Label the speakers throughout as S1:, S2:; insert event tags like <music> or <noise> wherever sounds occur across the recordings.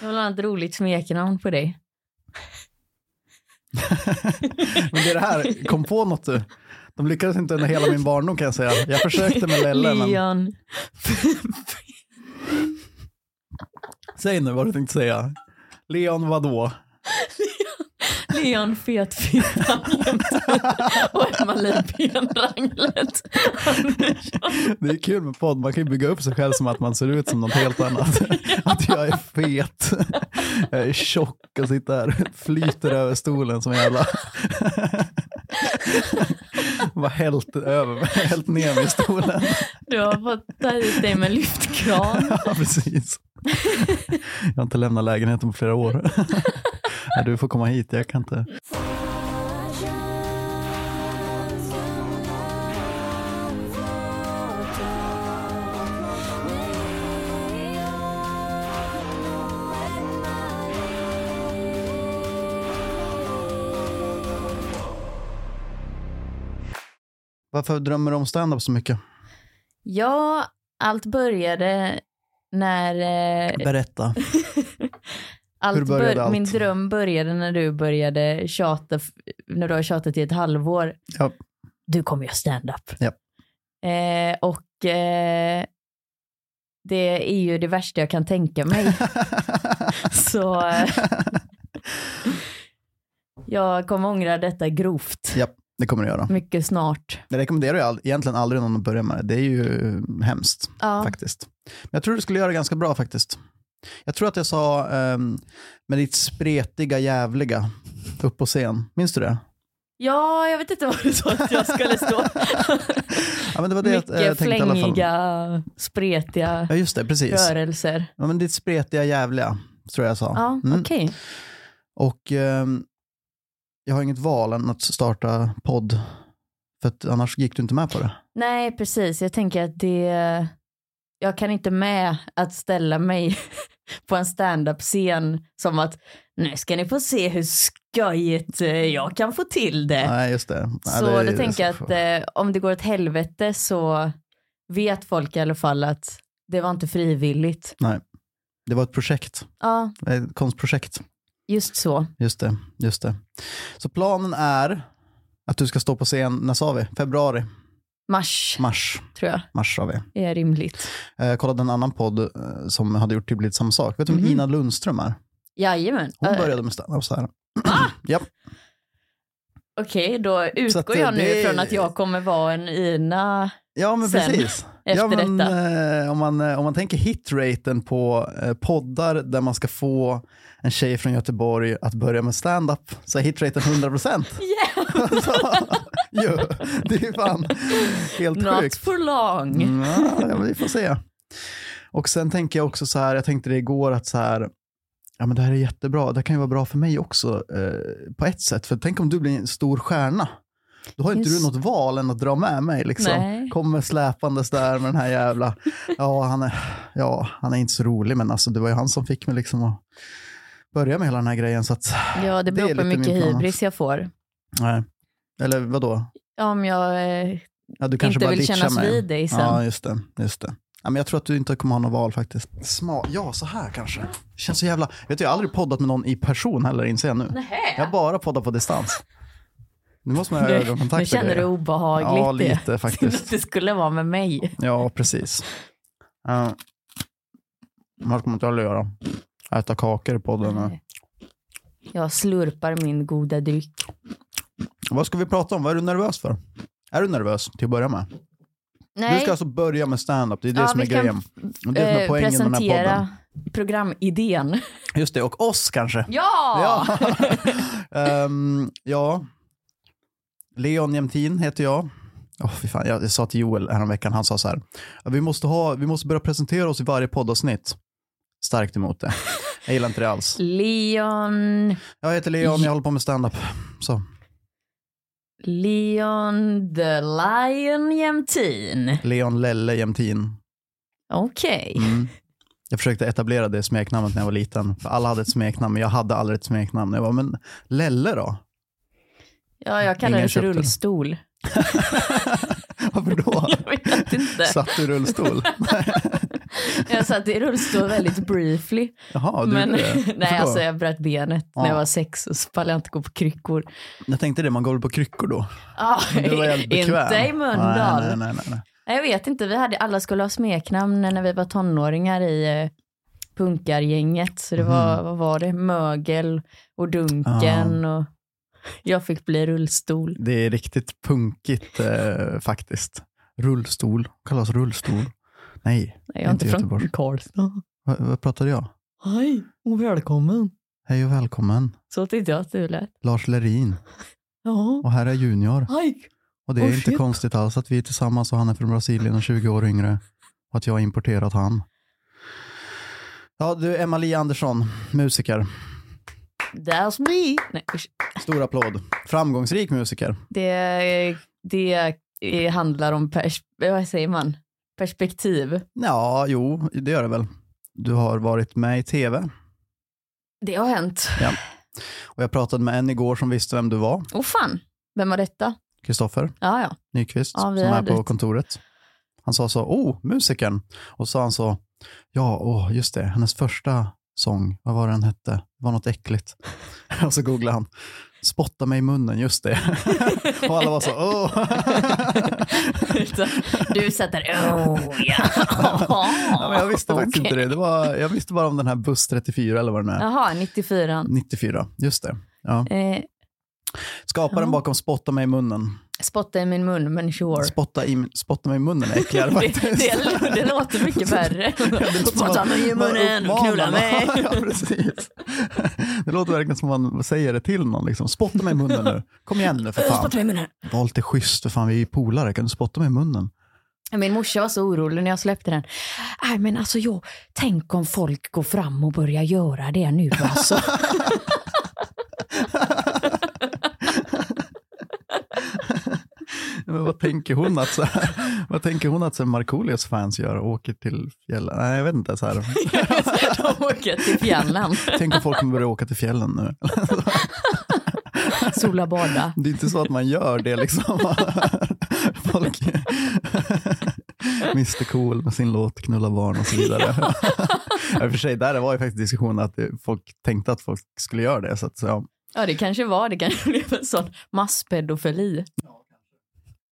S1: Jag vill ha ett roligt smeknamn på dig.
S2: Men det är det här, kom på något du. De lyckades inte under hela min barndom kan jag säga. Jag försökte med Lelle, men
S1: Leon.
S2: säg nu vad du tänkte säga. Leon vadå?
S1: Leon
S2: <laughs>
S1: Fetfittan och Emma Lipén Ranglet.
S2: Det är kul med podd, man kan ju bygga upp sig själv som att man ser ut som något helt annat. Att jag är fet, jag är tjock och sitter här, flyter över stolen som en jävla... Bara hällt, över, hällt ner mig i stolen.
S1: Du har fått ta hit dig med lyftkran.
S2: Ja, precis. Jag har inte lämnat lägenheten på flera år. Nej, Du får komma hit, jag kan inte. Varför drömmer du om standup så mycket?
S1: Ja, allt började när... eh,
S2: Berätta.
S1: Allt
S2: Hur började
S1: bör-
S2: allt?
S1: Min dröm började när du började tjata, f- när du har tjatat i ett halvår.
S2: Ja.
S1: Du kommer göra stand-up.
S2: Ja.
S1: Eh, och eh, det är ju det värsta jag kan tänka mig.
S2: <laughs>
S1: Så eh, jag kommer ångra detta grovt.
S2: Ja, det kommer du göra.
S1: Mycket snart.
S2: Det rekommenderar jag all- egentligen aldrig någon att börja med det. Det är ju hemskt
S1: Ja.
S2: faktiskt. Men jag tror du skulle göra det ganska bra faktiskt. Jag tror att jag sa ehm, med ditt spretiga jävliga upp på scen. Minns du det?
S1: ja, jag vet inte vad du sa att jag skulle stå.
S2: <laughs> Ja, men det var det jag, eh,
S1: Mycket
S2: tänkte i alla fall.
S1: flängiga, spretiga
S2: Ja, just det, precis.
S1: rörelser.
S2: Ja, men ditt spretiga jävliga tror jag jag sa.
S1: Ja,
S2: Mm.
S1: okej.
S2: Och ehm, jag har inget val än att starta podd. För att annars gick du inte med på det.
S1: Nej, precis. Jag tänker att det... Jag kan inte med att ställa mig <laughs> på en stand-up-scen som att nu ska ni få se hur skojigt eh, jag kan få till det.
S2: Nej, just det. Nej,
S1: Eh. så
S2: det är-
S1: då tänker jag att eh, om det går åt helvete så vet folk i alla fall att det var inte frivilligt.
S2: Det var ett projekt.
S1: Ja,
S2: Ett konstprojekt.
S1: just så.
S2: Just det, just det. Så planen är att du ska stå på scen, när sa vi? Februari,
S1: Mars
S2: mars,
S1: tror jag
S2: mars sa vi.
S1: är rimligt.
S2: Jag kollade en annan podd eh, som hade gjort typ lite samma sak. Vet du vem
S1: Mhm.
S2: Ina Lundström är?
S1: Jajamän.
S2: Hon
S1: Eh,
S2: började med standup så här. Japp.
S1: Okej, då
S2: Så att,
S1: utgår
S2: eh,
S1: jag nu
S2: det-
S1: från att jag kommer vara en
S2: <laughs>
S1: Ina
S2: Ja men
S1: Sen,
S2: precis. ja,
S1: efter
S2: men,
S1: detta.
S2: eh, om, man, eh, om man tänker hitraten på eh, poddar där man ska få en tjej från Göteborg att börja med standup så är hitraten 100%. alltså, <laughs> jo, det är fan helt
S1: Not
S2: sjukt.
S1: for long.
S2: Mm, Ja, ja, men vi får se. Och sen tänker jag också så här, jag tänkte det igår att så här, ja men det här är jättebra, det här kan ju vara bra för mig också eh, på ett sätt. För tänk om du blir en stor stjärna. Då har inte
S1: Just.
S2: du något val än att dra med mig. Liksom.
S1: Nej.
S2: Kommer släpandes där med den här jävla, ja han, är, ja han är inte så rolig men alltså det var ju han som fick mig liksom att börja med hela den här grejen. Så att,
S1: Ja, det
S2: är
S1: beror på
S2: lite
S1: hur
S2: min
S1: mycket
S2: plan
S1: hybris jag får.
S2: nej. Eller vadå?
S1: Om jag eh,
S2: Ja, du kanske
S1: inte
S2: bara
S1: vill
S2: ditchar
S1: kännas
S2: mig.
S1: vid dig sen.
S2: Ja, just det. Just det. Ja, men jag tror att du inte kommer ha något val faktiskt. Sma ja, så här kanske. Det känns så jävla... Vet du, jag har aldrig poddat med någon i person heller, inser jag nu. Jag har bara poddat på distans. Nu måste man ha
S1: Du,
S2: ögonkontakt.
S1: nu
S2: och
S1: känner du
S2: grejer.
S1: obehagligt
S2: Ja,
S1: <laughs> det.
S2: lite faktiskt.
S1: Att det skulle vara med mig.
S2: Ja, precis. Uh, vad ska man inte aldrig göra? Äta kakor i podden. eh.
S1: Jag slurpar min goda dryck.
S2: Vad ska vi prata om? Vad är du nervös för? Är du nervös till att börja med? Du
S1: Nej,
S2: ska alltså börja med stand-up. Det är det
S1: Ja,
S2: som är
S1: vi kan
S2: grejen. Det är det som är
S1: eh,
S2: poängen med den här podden.
S1: presentera programidén.
S2: Just det, och oss kanske.
S1: Ja!
S2: Ja. <laughs> Ehm, ja. Leon Jämtin heter jag. Åh, fy fan, jag, jag sa till Joel häromveckan, han sa så här. Vi måste, ha, vi måste börja presentera oss i varje poddavsnitt. Starkt emot det. Jag gillar inte det alls.
S1: Leon,
S2: Jag heter Leon, jag håller på med standup. Så.
S1: Leon the Lion Jämtin.
S2: Leon Lelle Jämtin.
S1: Okej.
S2: Mm. Jag försökte etablera det smeknamnet när jag var liten. För alla hade ett smeknamn, men jag hade aldrig ett smeknamn. Jag bara, men Lelle då?
S1: Ja, jag kallar
S2: Ingen
S1: det för
S2: köpte det.
S1: rullstol. <laughs>
S2: Varför då?
S1: Jag vet inte.
S2: <laughs> Satt du i rullstol?
S1: Jag satt i rullstol väldigt briefly.
S2: Jaha, du
S1: men <laughs>
S2: gjorde det.
S1: nej,
S2: då?
S1: alltså jag bröt benet när
S2: Ja.
S1: jag var sex och så pallade jag inte gå på kryckor.
S2: Jag tänkte det, man går väl på kryckor då?
S1: Ah,
S2: Men Du var jävligt
S1: <laughs>
S2: bekväm.
S1: inte i Mölndal.
S2: Nej, nej, nej, nej, nej.
S1: Nej, Jag vet inte, vi hade, alla skulle ha smeknamn när vi var tonåringar i eh, punkargänget. Så det var, vad var det, mögel och dunken och jag fick bli rullstol.
S2: Det är riktigt punkigt eh, faktiskt. Rullstol, kallas rullstol. Nej,
S1: Nej, jag är
S2: Inte
S1: inte, från
S2: Göteborg.
S1: Karlstad.
S2: vad, vad pratade jag?
S1: Hej och välkommen.
S2: Hej och välkommen,
S1: Så tyckte jag att du lät.
S2: Lars Lerin.
S1: Ja.
S2: Och här är Junior.
S1: Hej.
S2: Och det är
S1: Oh,
S2: inte
S1: shit.
S2: konstigt alls att vi är tillsammans och han är från Brasilien och 20 år yngre. Och att jag har importerat han. Ja, du, Emma-Li Andersson, musiker.
S1: That's me. Nej, usch.
S2: Stor applåd. Framgångsrik musiker.
S1: det, det eh, handlar om, pers- vad säger man, perspektiv.
S2: Ja, jo, det gör det väl. Du har varit med i tv.
S1: Det har hänt.
S2: Och jag pratade med en igår som visste vem du var.
S1: Åh fan, vem var detta?
S2: Kristoffer
S1: Ja, ja.
S2: Nyqvist,
S1: Ja,
S2: som
S1: vi
S2: är
S1: hade
S2: på
S1: ett-
S2: kontoret. Han sa så, oh, musikern. Och så sa han så, ja, åh, just det, hennes första sång, vad var den hette? Det var något äckligt. <laughs> Och så googlade han, spotta mig i munnen, just det. <laughs> Och alla var så, åh. <laughs>
S1: Utan <laughs> du sätter oh <laughs> ja.
S2: Ja, men jag visste faktiskt inte det. det var, jag visste bara om den här buss 34 eller vad den är.
S1: Jaha, 94.
S2: 94, just det. Ja.
S1: Eh,
S2: Skaparen
S1: Ja.
S2: bakom Spotta mig i munnen.
S1: spotta i min mun, men sure.
S2: Spotta, i, spotta mig i munnen är
S1: <laughs>
S2: äckligare
S1: Det,
S2: faktiskt.
S1: det, det låter mycket
S2: <laughs>
S1: värre.
S2: Det låter som
S1: Spotta
S2: att
S1: mig i
S2: man
S1: munnen och
S2: uppmanar
S1: knulla
S2: någon.
S1: mig.
S2: <laughs> ja, precis. Det låter verkligen som man säger det till någon. Liksom. Spotta mig i munnen nu. Kom igen nu för
S1: <laughs>
S2: fan.
S1: Spotta mig i munnen.
S2: Var lite schysst för fan, vi är ju polare. Kan du spotta mig i munnen?
S1: Min morsa var så orolig när jag släppte den. Nej men alltså jag, tänk om folk går fram och börjar göra det nu <laughs> alltså.
S2: Men vad tänker hon att, så här, vad tänker hon att så här Markoolios fans gör? Åker till fjällen? Nej, jag vet inte. Så här.
S1: De åker till fjällen,
S2: Tänk om folk kommer börja åka till fjällen nu.
S1: sola, bada.
S2: Det är inte så att man gör det liksom. <laughs> Folk... Mr Cool med sin låt Knulla barn och
S1: <laughs>
S2: så vidare. Ja. I och för sig, där var ju faktiskt diskussionen att det- folk tänkte att folk skulle göra det. Så att, så, ja.
S1: Ja, det kanske var. Det kanske blev en sån masspedofili.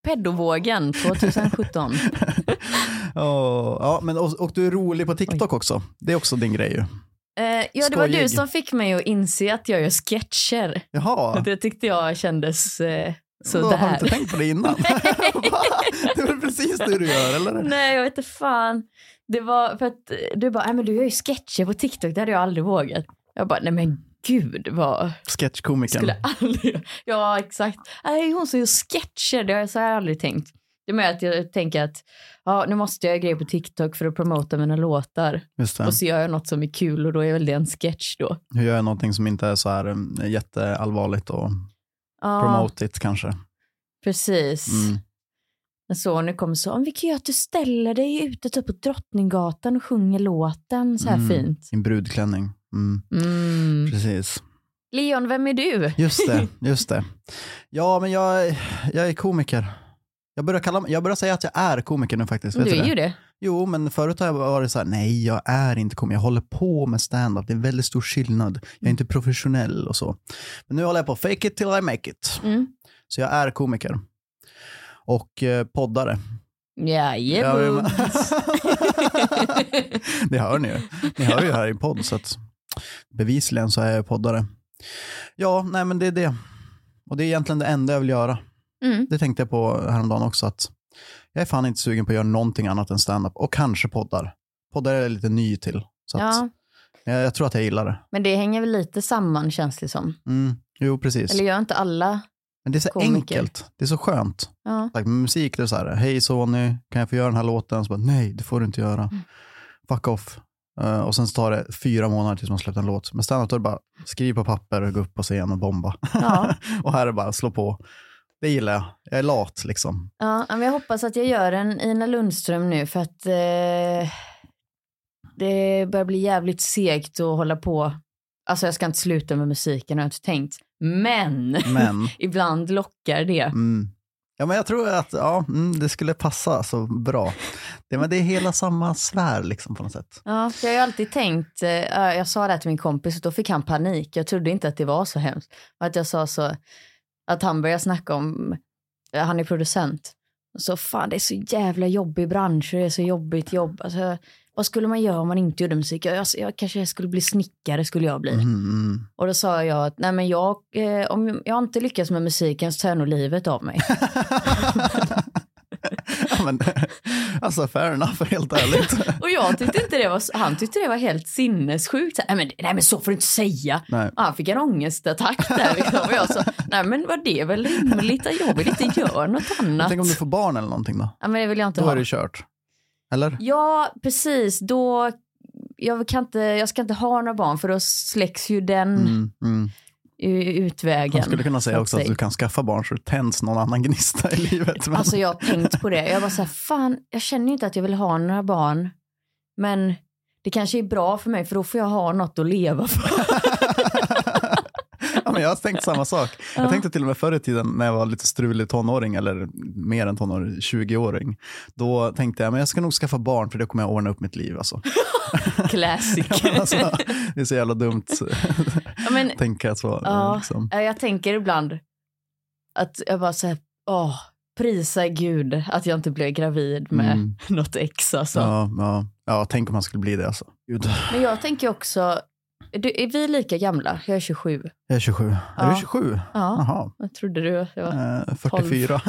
S1: Pedovågen 2017.
S2: Åh, ja, men, och, och du är rolig på TikTok också. Det är också din grej ju.
S1: Eh, ja, det var du
S2: Skojig.
S1: som fick mig att inse att jag gör sketcher.
S2: Jaha,
S1: Det tyckte jag kändes eh,
S2: då har du inte
S1: sådär.
S2: tänkt på
S1: <laughs>
S2: det innan? <laughs> Va? det är väl precis det du gör, <laughs> eller?
S1: Nej, jag vet inte fan. Det var för att eh, du bara, nej men du gör ju sketcher på TikTok, det hade jag aldrig vågat. Jag bara, nej men gud vad,
S2: Sketchkomikern.
S1: skulle <laughs> aldrig, ja exakt. Nej, hon som gör sketcher, det har jag så här aldrig tänkt. Det är mer att jag tänker att, ja nu måste jag göra grejer på TikTok för att promota mina låtar.
S2: Just det.
S1: Och så gör jag något som är kul och då är väl det en sketch då.
S2: Hur gör jag någonting som inte är så här um, jätteallvarligt och
S1: Ja,
S2: promote it kanske?
S1: precis.
S2: Mm.
S1: När sonen kommer så, "Om vi kan göra att du ställer dig ute typ på Drottninggatan och sjunger låten så här
S2: Mm.
S1: fint.
S2: Din brudklänning. Mm.
S1: Mm.
S2: Precis.
S1: Leon, vem är du? <laughs>
S2: Just det, just det. Ja, men jag, jag är komiker. Jag börjar, kalla, jag börjar säga att jag är komiker nu faktiskt. Vet
S1: Du är
S2: det?
S1: ju det.
S2: Jo, men förut har jag varit så här, nej, jag är inte komiker. Jag håller på med stand-up. Det är en väldigt stor skillnad.
S1: Mm.
S2: Jag är inte professionell och så. Men nu håller jag på, fake it till I make it.
S1: Mm.
S2: Så jag är komiker. Och eh, poddare. <laughs>
S1: Jajamän. <laughs>
S2: det hör ni ju. Ni hör ju här i podd, så att bevisligen så är jag poddare. Ja, nej men det är det. Och det är egentligen det enda jag vill göra.
S1: Mm.
S2: Det tänkte jag på häromdagen också, att jag är fan inte sugen på att göra någonting annat än stand-up och kanske poddar. Poddar är jag lite ny till, så att
S1: Ja,
S2: jag, jag tror att jag gillar det.
S1: men det hänger väl lite samman känns det som.
S2: Mm, jo, precis.
S1: Eller gör inte alla?
S2: Men det är så
S1: komiker.
S2: enkelt, det är så skönt.
S1: Ja.
S2: Like, med musik det är så här, hej Sony, kan jag få göra den här låten? Så bara, nej, det får du inte göra. Fuck off. Eh, och sen så tar det fyra månader tills man släppt en låt. Men standup då är det bara, skriv på papper och gå upp på scen och bomba.
S1: Ja.
S2: <laughs> och här är det bara, slå på. Det gillar jag. Jag är lat liksom.
S1: Ja, men jag hoppas att jag gör en Ina Lundström nu för att eh, det börjar bli jävligt segt att hålla på. Alltså jag ska inte sluta med musiken har jag inte tänkt. Men <laughs>
S2: Men,
S1: ibland lockar det.
S2: mm. ja, men jag tror att ja, mm, det skulle passa så bra. Det Ja, men det är hela samma sfär liksom på något sätt.
S1: Ja, för jag har ju alltid tänkt, eh, ja, jag sa det här till min kompis och då fick han panik. Jag trodde inte att det var så hemskt. Och att jag sa så, att han började snacka om, ja, han är producent. Och Så fan det är så jävla jobbig bransch och det är så jobbigt jobb. Alltså, vad skulle man göra om man inte gjorde musik? Jag, jag, jag kanske skulle bli snickare skulle jag bli.
S2: Mm, mm. <laughs>
S1: Och då sa jag att nej men jag, eh, om jag inte lyckas med musiken så tar jag nog livet av mig.
S2: ja, men, alltså fair enough, helt ärligt.
S1: och jag tyckte inte det var, så- han tyckte det var helt sinnessjukt. Så här, Nej men, nej men så får du inte säga.
S2: Nej.
S1: Och han Ah, fick en ångestattack där. Liksom. Och jag sa, nej men var det är väl rimligt att jag vill inte göra något annat.
S2: Tänk om du får barn eller någonting då?
S1: Ja men det vill jag inte
S2: Då
S1: ha.
S2: är det kört. Eller?
S1: Ja precis, då, jag, kan inte, jag ska inte ha några barn för då släcks ju den
S2: Mm, mm.
S1: u- utvägen.
S2: Man skulle kunna säga
S1: så att
S2: också att
S1: säga.
S2: du kan skaffa barn så det tänds någon annan gnista i livet. Men,
S1: Alltså jag har tänkt på det. Jag bara så här, fan, jag känner ju inte att jag vill ha några barn. Men det kanske är bra för mig för då får jag ha något att leva
S2: <laughs>
S1: för.
S2: <laughs> ja, men jag har tänkt samma sak. Jag
S1: Ja.
S2: tänkte till och med förr i tiden när jag var lite strulig tonåring eller mer än tonåring, 20-åring. Då tänkte jag men jag ska nog skaffa barn för det kommer jag ordna upp mitt liv. Alltså. <laughs>
S1: Classic.
S2: Ja, men alltså, det är så jävla dumt
S1: Ja, men,
S2: att tänka så.
S1: Ja.
S2: Liksom.
S1: eh, jag tänker ibland att jag bara så här, åh, prisa gud att jag inte blev gravid med
S2: Mm.
S1: <laughs> något ex alltså.
S2: Ja, ja. ja, tänk om man skulle bli det alltså. Gud.
S1: Men jag tänker också, du, är vi lika gamla? Jag är 27.
S2: Jag är 27. Är du
S1: Ja.
S2: 27?
S1: Ja,
S2: Jaha,
S1: jag trodde du att jag var.
S2: eh, <laughs> 44.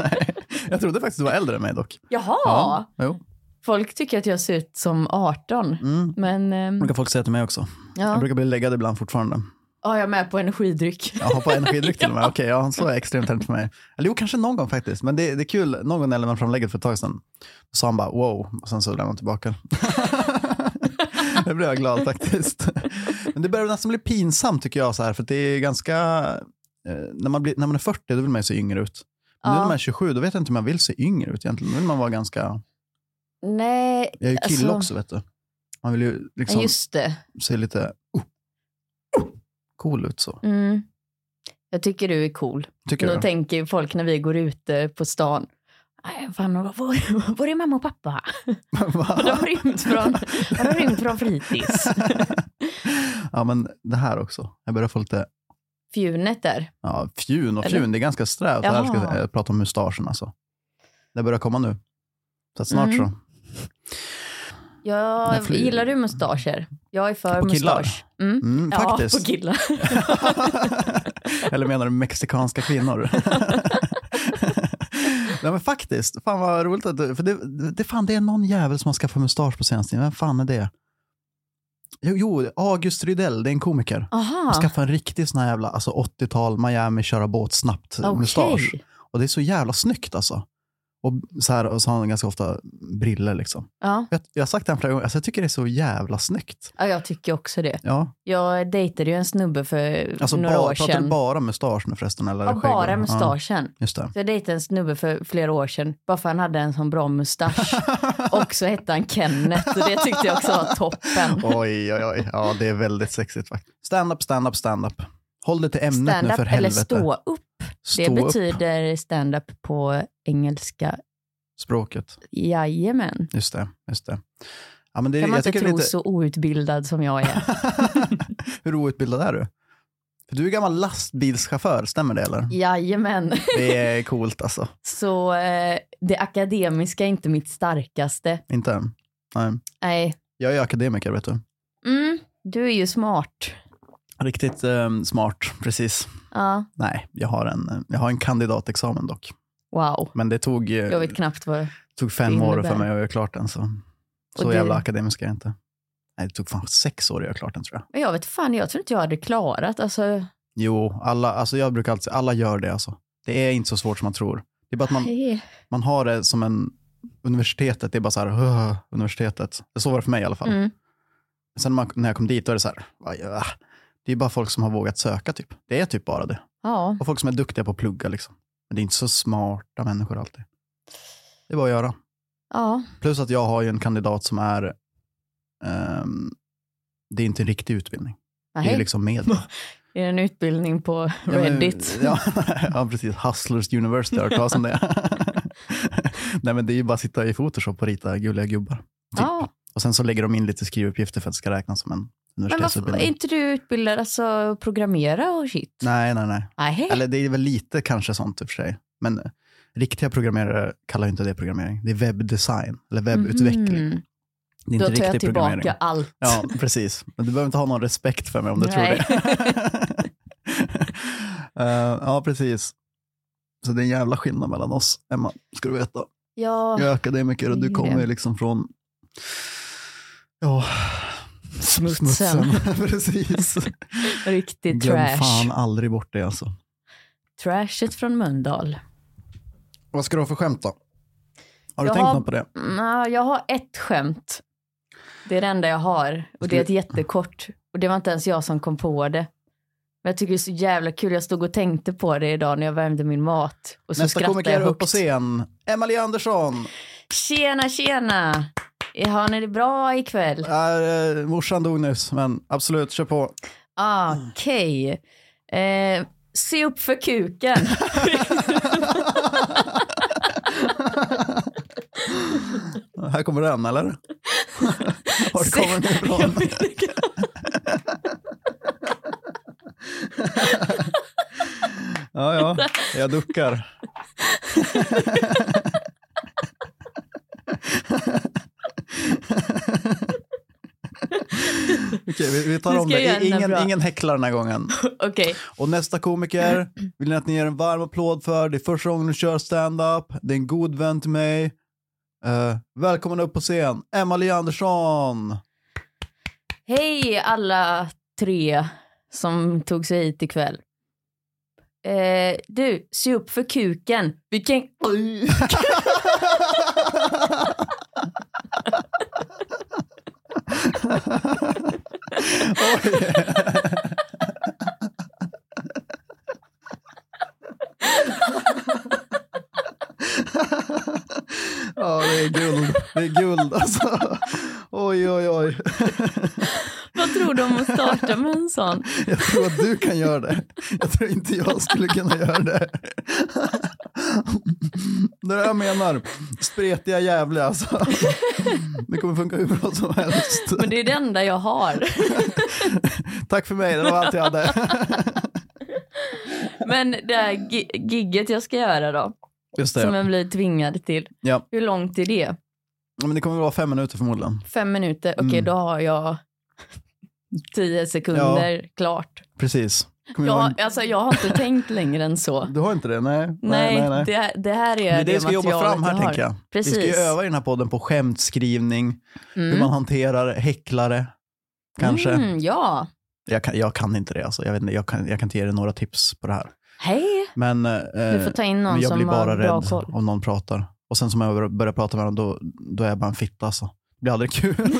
S2: Nej, jag trodde faktiskt du var äldre än mig dock.
S1: Jaha,
S2: Jo.
S1: folk tycker att jag ser ut som 18.
S2: Mm.
S1: Men ehm,
S2: brukar folk säga till mig också. Jag
S1: ja.
S2: brukar bli läggad ibland fortfarande.
S1: ja, jag är med på energidryck.
S2: Jag hoppar energidryck till och med. Okej, <laughs> ja, så är extremt hemskt för mig. Eller jo, kanske någon gång faktiskt. Men det, det är kul. Någon gång när jag lämnade fram lägget för ett tag sedan. Då sa han bara wow. Och sen så lämnade han <laughs> tillbaka. det blev jag glad faktiskt. Men det börjar nästan bli pinsamt tycker jag. Så här, för att det är ganska... eh, När man, blir, när man är 40 då vill man ju se yngre ut. Men nu när
S1: Ja.
S2: man är 27 då vet jag inte om jag vill se yngre ut egentligen. Nu vill man vara ganska...
S1: Nej,
S2: Jag är ju kille
S1: Alltså-
S2: också vet du. Man vill ju liksom
S1: just det.
S2: se lite oh, oh, cool ut så.
S1: Mm. Jag tycker du är cool.
S2: Tycker
S1: Då
S2: du?
S1: tänker ju folk när vi går ute på stan. "Nej, Fan, var, var är mamma och pappa?
S2: <laughs> Va?
S1: Har de rymt från, har de rymt från fritids?
S2: ja, men det här också. Jag börjar få lite
S1: Fjunet där.
S2: ja, fjun och
S1: Eller?
S2: fjun. Det är ganska strävt. Jag
S1: Jaha.
S2: älskar att eh, prata om mustaschen alltså. Det börjar komma nu. Så att snart
S1: Mm.
S2: så.
S1: Ja,
S2: När flyger-
S1: gillar du mustascher? Jag är för
S2: På killar?
S1: mustasch. Mm.
S2: Mm,
S1: Ja,
S2: faktiskt.
S1: på killar.
S2: <laughs> Eller menar du mexikanska kvinnor? <laughs> Nej men faktiskt, fan vad roligt att du, för det, det, fan, det är någon jävel som har skaffat mustasch på senaste tiden, vem fan är det? Jo, jo August Rydell, det är en komiker. Han
S1: Aha,
S2: skaffade en riktig sån här jävla, alltså 80-tal Miami köra båt snabbt mustasch.
S1: okej.
S2: Och det är så jävla snyggt alltså. Och så, här, och så har han ganska ofta briller liksom.
S1: Ja.
S2: Jag, jag har sagt det här flera gånger, alltså, jag tycker det är så jävla snyggt.
S1: ja, jag tycker också det.
S2: Ja,
S1: Jag dejtade ju en snubbe för
S2: alltså
S1: några
S2: bara,
S1: år
S2: pratar du
S1: sedan.
S2: bara mustasch nu förresten? Eller är
S1: Ja,
S2: det skägg?
S1: bara mustaschen.
S2: Ja, just det.
S1: Så jag dejtade en snubbe för flera år sedan, bara för han hade en sån bra
S2: <laughs>
S1: mustasch. och så hette han Kenneth och det tyckte jag också var toppen.
S2: <laughs> Oj, oj, oj. Ja, det är väldigt sexigt faktiskt. Stand-up, stand-up, stand-up. Håll dig till ämnet nu
S1: Stand-up
S2: för
S1: eller
S2: helvete.
S1: stå upp. Det
S2: Stå upp.
S1: betyder stand-up på engelska.
S2: Språket,
S1: Jajamän.
S2: just det. Just det. Ja, men det
S1: Kan man
S2: jag
S1: inte
S2: tycker
S1: tro
S2: det är lite...
S1: så outbildad som jag
S2: <laughs>
S1: är.
S2: Hur outbildad är du? För du är gammal lastbilschaufför, stämmer det eller?
S1: Jajamän.
S2: Det är coolt alltså.
S1: Så eh, det akademiska är inte mitt starkaste.
S2: Inte än. Nej.
S1: Nej.
S2: Jag är akademiker, vet du.
S1: Mm, du är ju smart.
S2: Riktigt eh, smart, precis.
S1: Ja,
S2: Nej, jag har, en, jag har en kandidatexamen dock.
S1: wow.
S2: Men det tog, eh,
S1: Jag vet knappt vad...
S2: tog fem
S1: det
S2: år för
S1: innebär.
S2: mig att göra klart den. Så, så
S1: Och det-
S2: jävla akademisk är jag inte. Nej, det tog fan sex år att göra klart den tror jag.
S1: Men jag vet fan, jag tror inte jag hade klarat. Alltså,
S2: Jo, alla, alltså jag brukar alltid säga, alla gör det alltså. Det är inte så svårt som man tror. Det är bara att man,
S1: nej.
S2: man har det som en, universitetet, det är bara så här, "Åh, universitetet. Så var det för mig i alla fall.
S1: Mm.
S2: Sen när man, när jag kom dit, då är det så här, "Vad gör jag?" det är bara folk som har vågat söka typ. Det är typ bara det.
S1: Ja,
S2: Och folk som är duktiga på att plugga liksom. Men det är inte så smarta människor alltid. Det är bara att göra.
S1: ja.
S2: Plus att jag har ju en kandidat som är, ehm, det är inte en riktig utbildning. Det är ju
S1: Nej. <laughs>
S2: liksom med.
S1: Är det en utbildning på
S2: Ja, typ <laughs> men-
S1: Reddit?
S2: Ja, ja, precis. Hustlers University har jag hört talas om det. <laughs> Nej men det är ju bara att sitta i Photoshop och rita gulliga gubbar. Typ.
S1: Ja.
S2: Och sen så lägger de in lite skrivuppgifter för att det ska räknas som en
S1: Men varför, är
S2: universitetsutbildning.
S1: inte du utbildad alltså att programmera och shit?
S2: Nej, nej, nej.
S1: Nej.
S2: Eller det är väl lite kanske sånt i och för sig. Men eh, riktiga programmerare kallar ju inte det programmering. Det är webbdesign eller webbutveckling.
S1: Mhm.
S2: Det är
S1: Då
S2: inte
S1: tar jag
S2: riktig programmering.
S1: tillbaka allt. <laughs>
S2: Ja, precis. Men du behöver inte ha någon respekt för mig om du tror
S1: Nej.
S2: det. <laughs> Eh, ja, precis. Så det är en jävla skillnad mellan oss, Emma, ska du veta.
S1: Ja,
S2: Jag är akademiker och
S1: det är
S2: du
S1: ju
S2: kommer
S1: det.
S2: liksom från ja,
S1: Smutsen.
S2: <laughs> precis.
S1: riktigt
S2: Glöm
S1: trash.
S2: fan aldrig bort det alltså.
S1: Trashet från Mölndal.
S2: Vad ska du ha för skämt då? Har du
S1: Jag
S2: tänkt
S1: har-
S2: något på det?
S1: Nå, jag har ett skämt. Det är det enda jag har. Och det är ett jättekort. Och det var inte ens jag som kom på det. Men jag tycker det är så jävla kul. Jag stod och tänkte på det idag när jag värmde min mat. Och så
S2: Nästa
S1: skrattade
S2: komiker
S1: jag
S2: upp
S1: högt.
S2: på scen, Emily Andersson.
S1: Tjena, tjena! Har ni det bra ikväll?
S2: Äh, morsan dog nyss, men absolut, kör på.
S1: Ah,
S2: Mm.
S1: Okej. Eh, se upp för kuken. <laughs>
S2: Här kommer
S1: <laughs>
S2: den, eller? Vart kommer den ifrån? <laughs> Ja, ja,
S1: <laughs>
S2: jag duckar. Okej, vi, vi
S1: Nu
S2: tar om
S1: ska jag göra
S2: det.
S1: den här
S2: Ingen,
S1: bra.
S2: ingen häcklar den här gången.
S1: Okej.
S2: Och nästa komiker vill ni att ni ger en varm applåd för. Det är första gången du kör stand-up. Det är en god vän till mig. Uh, välkommen upp på scen, Emily Andersson.
S1: Hej alla tre som tog sig hit ikväll. Eh, du, se upp för kuken. Vilken... <laughs> Oj.
S2: Oj. <laughs> Ja, det är guld. Det är guld alltså. Oj, oj, oj.
S1: Vad tror du om att starta med en sån?
S2: Jag tror att du kan göra det. Jag tror inte jag skulle kunna göra det. Det är det jag menar. Spretiga jävla alltså. Det kommer funka hur bra som helst.
S1: Men det är det enda jag
S2: <laughs>
S1: har.
S2: Tack för mig, det var allt jag hade.
S1: Men det här gi- gigget jag ska göra då,
S2: Just
S1: som
S2: det.
S1: jag blir tvingad till.
S2: Ja.
S1: Hur långt är det?
S2: Men det kommer vara fem minuter förmodligen.
S1: Fem minuter? Okej,
S2: Mm.
S1: då har
S2: <laughs>
S1: jag tio sekunder klart.
S2: Precis. Kommer
S1: Jag,
S2: vara
S1: har- alltså, jag har inte tänkt längre än så.
S2: en- Du har inte det? <laughs> Nej.
S1: Nej, Det, här- det här
S2: Det
S1: är
S2: är det vi ska jobba
S1: materialet
S2: fram här
S1: jag har.
S2: tänker jag.
S1: Precis.
S2: Vi ska ju öva i den här podden på skämtskrivning,
S1: Mm.
S2: hur man hanterar häcklare. Kanske.
S1: Mm, ja.
S2: Jag, kan, jag kan inte det alltså. Jag, vet inte, jag, kan, jag kan inte ge dig några tips på det här.
S1: Hej.
S2: Men, eh,
S1: Du får ta in någon
S2: men jag
S1: som
S2: blir bara
S1: har bra
S2: rädd
S1: koll.
S2: om någon pratar. Och sen som jag bör- börjar prata med dem, då, då är jag bara en fitta alltså. Det blir aldrig kul. <laughs>
S1: <laughs>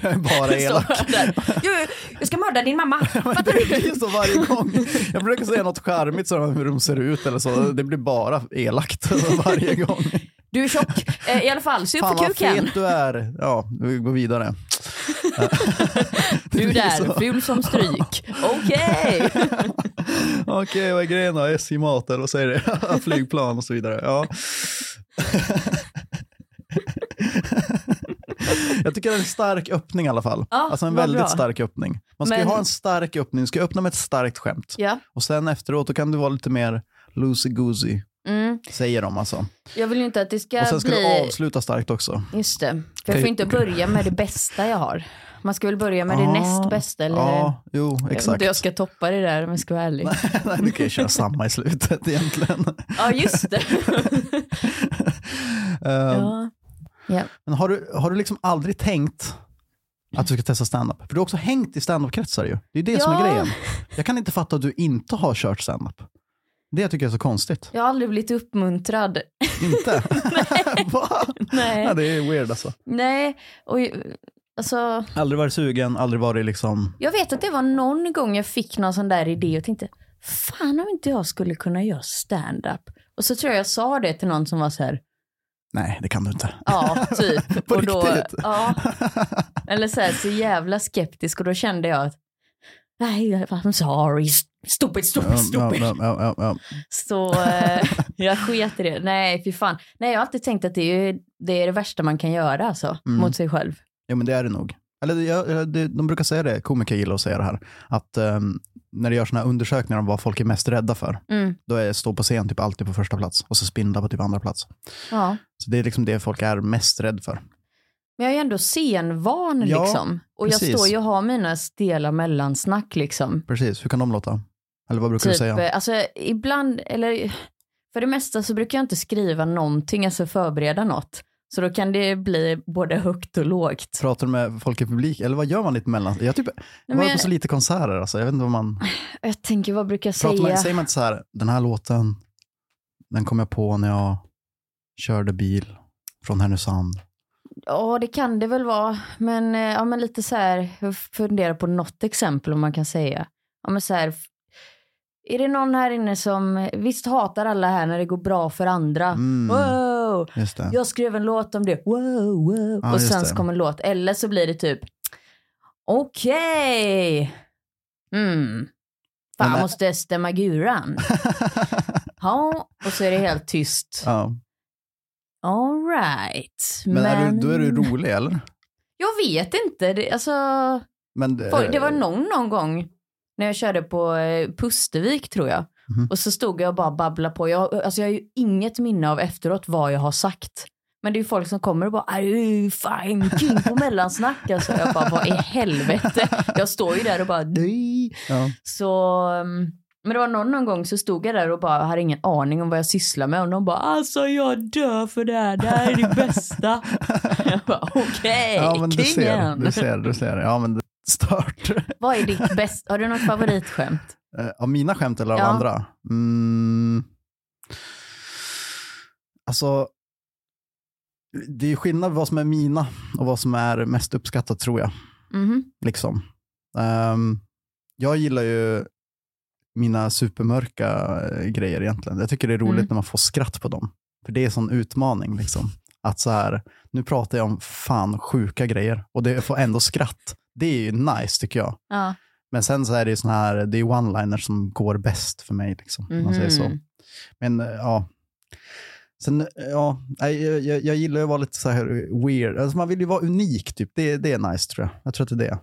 S2: jag är bara elak.
S1: Står där. Jag, jag ska mörda din mamma.
S2: Men det blir ju så varje gång. Jag försöker säga något charmigt så hur de ser ut eller så. Det blir bara elakt <laughs> alltså, varje gång.
S1: Du är tjock. Eh, I alla fall, se upp
S2: Fan
S1: för
S2: vad
S1: kuken.
S2: fet du är. Ja, vi går vidare.
S1: Du
S2: blir
S1: där,
S2: <laughs> så.
S1: ful som stryk. Okej.
S2: Okej, vad är grejen då? SJ-mat eller vad säger det? <laughs> Flygplan och så vidare. Ja. <laughs> Jag tycker det är en stark öppning i alla fall.
S1: Ja,
S2: alltså en
S1: vad
S2: väldigt
S1: bra.
S2: stark öppning. Man ska ju
S1: Men-
S2: ha en stark öppning, du ska öppna med ett starkt skämt.
S1: Ja.
S2: Och sen efteråt då kan du vara lite mer loosey-goosey,
S1: Mm.
S2: säger de alltså.
S1: Jag vill ju inte att det ska
S2: Och sen ska
S1: bli...
S2: du avsluta starkt också.
S1: Just det. För jag
S2: Kan-
S1: får inte börja med det bästa jag har. Man ska väl börja med det
S2: Ja.
S1: näst bästa. Eller...
S2: Ah. Ja, jo,
S1: Jag vet
S2: exakt.
S1: inte jag ska toppa det där om jag ska vara ärlig.
S2: <laughs> Nej, du kan ju köra samma i slutet egentligen.
S1: Ja, just
S2: <laughs>
S1: det.
S2: Eh,
S1: ja.
S2: Men har du, har du liksom aldrig tänkt att du ska testa standup? För du har också hängt i standup-kretsar ju. Det är det som är
S1: Ja.
S2: grejen. Jag kan inte fatta att du inte har kört standup. Det tycker jag är så konstigt.
S1: Jag har aldrig blivit uppmuntrad.
S2: Inte?
S1: <laughs>
S2: <laughs> Va?
S1: Nej.
S2: Ja, det är weird alltså.
S1: Nej, och alltså,
S2: Aldrig varit sugen, aldrig varit liksom...
S1: jag vet att det var någon gång jag fick någon sån där idé och tänkte, fan om inte jag skulle kunna göra stand-up. Och så tror jag jag sa det till någon som var så här,
S2: Nej, det kan du inte. <laughs>
S1: ja, typ.
S2: På
S1: och då,
S2: riktigt? <laughs>
S1: ja, eller så här, så jävla skeptisk och då kände jag att, nej, I'm sorry, Stupid,
S2: Ja,
S1: stupid,
S2: ja,
S1: stupid.
S2: ja, ja, ja.
S1: Så eh, <laughs> jag sket i det. Nej, fy fan. Nej, jag har alltid tänkt att det är det, är det värsta man kan göra alltså,
S2: Mm.
S1: mot sig själv.
S2: Ja, men det är det nog. Eller det- ja, ja, det, de brukar säga det, komiker gillar att säga det här, att ehm, när det görs såna här undersökningar om vad folk är mest rädda för,
S1: Mm.
S2: då är stå på scen typ alltid på första plats och så spindla på typ andra plats.
S1: Ja.
S2: Så det är liksom det folk är mest rädd för.
S1: Men jag är ju ändå scenvan
S2: Ja,
S1: liksom. Och
S2: precis.
S1: jag står ju och har mina stela mellansnack liksom.
S2: Precis, hur kan de låta? Eller vad brukar
S1: Typ,
S2: du säga?
S1: eh, alltså ibland, eller för det mesta så brukar jag inte skriva någonting, alltså förbereda något. Så då kan det bli både högt och lågt.
S2: Pratar du med folk i publik? Eller vad gör man lite mellan? Jag, typ, jag
S1: Nej,
S2: var
S1: men
S2: på så
S1: jag,
S2: lite konserter, alltså. jag vet inte vad man...
S1: jag tänker, vad brukar jag
S2: Pratar man,
S1: säga?
S2: säger man inte så här, den här låten, den kom jag på när jag körde bil från Härnösand.
S1: Ja, det kan det väl vara. Men, eh, ja, men lite så här, jag funderar på något exempel om man kan säga. Ja, men så här, f- är det någon här inne som, visst hatar alla här när det går bra för andra.
S2: Mm,
S1: Wow,
S2: just det.
S1: jag skrev en låt om det. Wow, wow.
S2: Ja,
S1: och
S2: just
S1: sen
S2: det.
S1: så kommer en låt. Eller så blir det typ, okej. Mm. Fan,
S2: Men- eh,
S1: måste stämma
S2: <laughs>
S1: guran. ja, och så är det helt tyst.
S2: <laughs> ja.
S1: All right.
S2: Men, Är du, då är du rolig eller?
S1: Jag vet inte. Det, alltså,
S2: Men, eh, det-
S1: folk, det var någon, någon gång när jag körde på eh, Pustervik tror jag.
S2: Mhm.
S1: Och så stod jag och bara babblade på. Jag, alltså, jag har ju inget minne av efteråt vad jag har sagt. Men det är ju folk som kommer och bara "Är du fan king på mellansnack. Alltså, jag bara vad i helvete. Jag står ju där och bara nej.
S2: Ja.
S1: Så, um, men det var någon, någon gång så stod jag där och bara hade ingen aning om vad jag sysslar med och någon bara alltså jag dör för det här, det här är det bästa. jag bara okej,
S2: <laughs> ja, men du ser,
S1: kingen.
S2: du ser, du ser. Ja, men det stört.
S1: Vad är ditt bästa, har du något favoritskämt?
S2: Eh, Av mina skämt eller av
S1: Ja.
S2: andra? Mm. Alltså, det är skillnad vad som är mina och vad som är mest uppskattat tror jag.
S1: Mhm.
S2: Liksom. Ehm, jag gillar ju mina supermörka eh, grejer egentligen. Jag tycker det är roligt
S1: Mm.
S2: när man får skratt på dem. För det är en sån utmaning. Liksom. Att så här, nu pratar jag om fan sjuka grejer och det får ändå skratt. Det är ju nice tycker jag.
S1: Ja.
S2: Men sen så är det ju sån här, det är one-liners som går bäst för mig. Liksom, om man säger så.
S1: Mhm.
S2: Men eh, ja. Sen, eh, ja, nej, jag, jag, jag gillar ju att vara lite så här weird. Alltså man vill ju vara unik, typ. det, det är nice tror jag. Jag tror att det är det.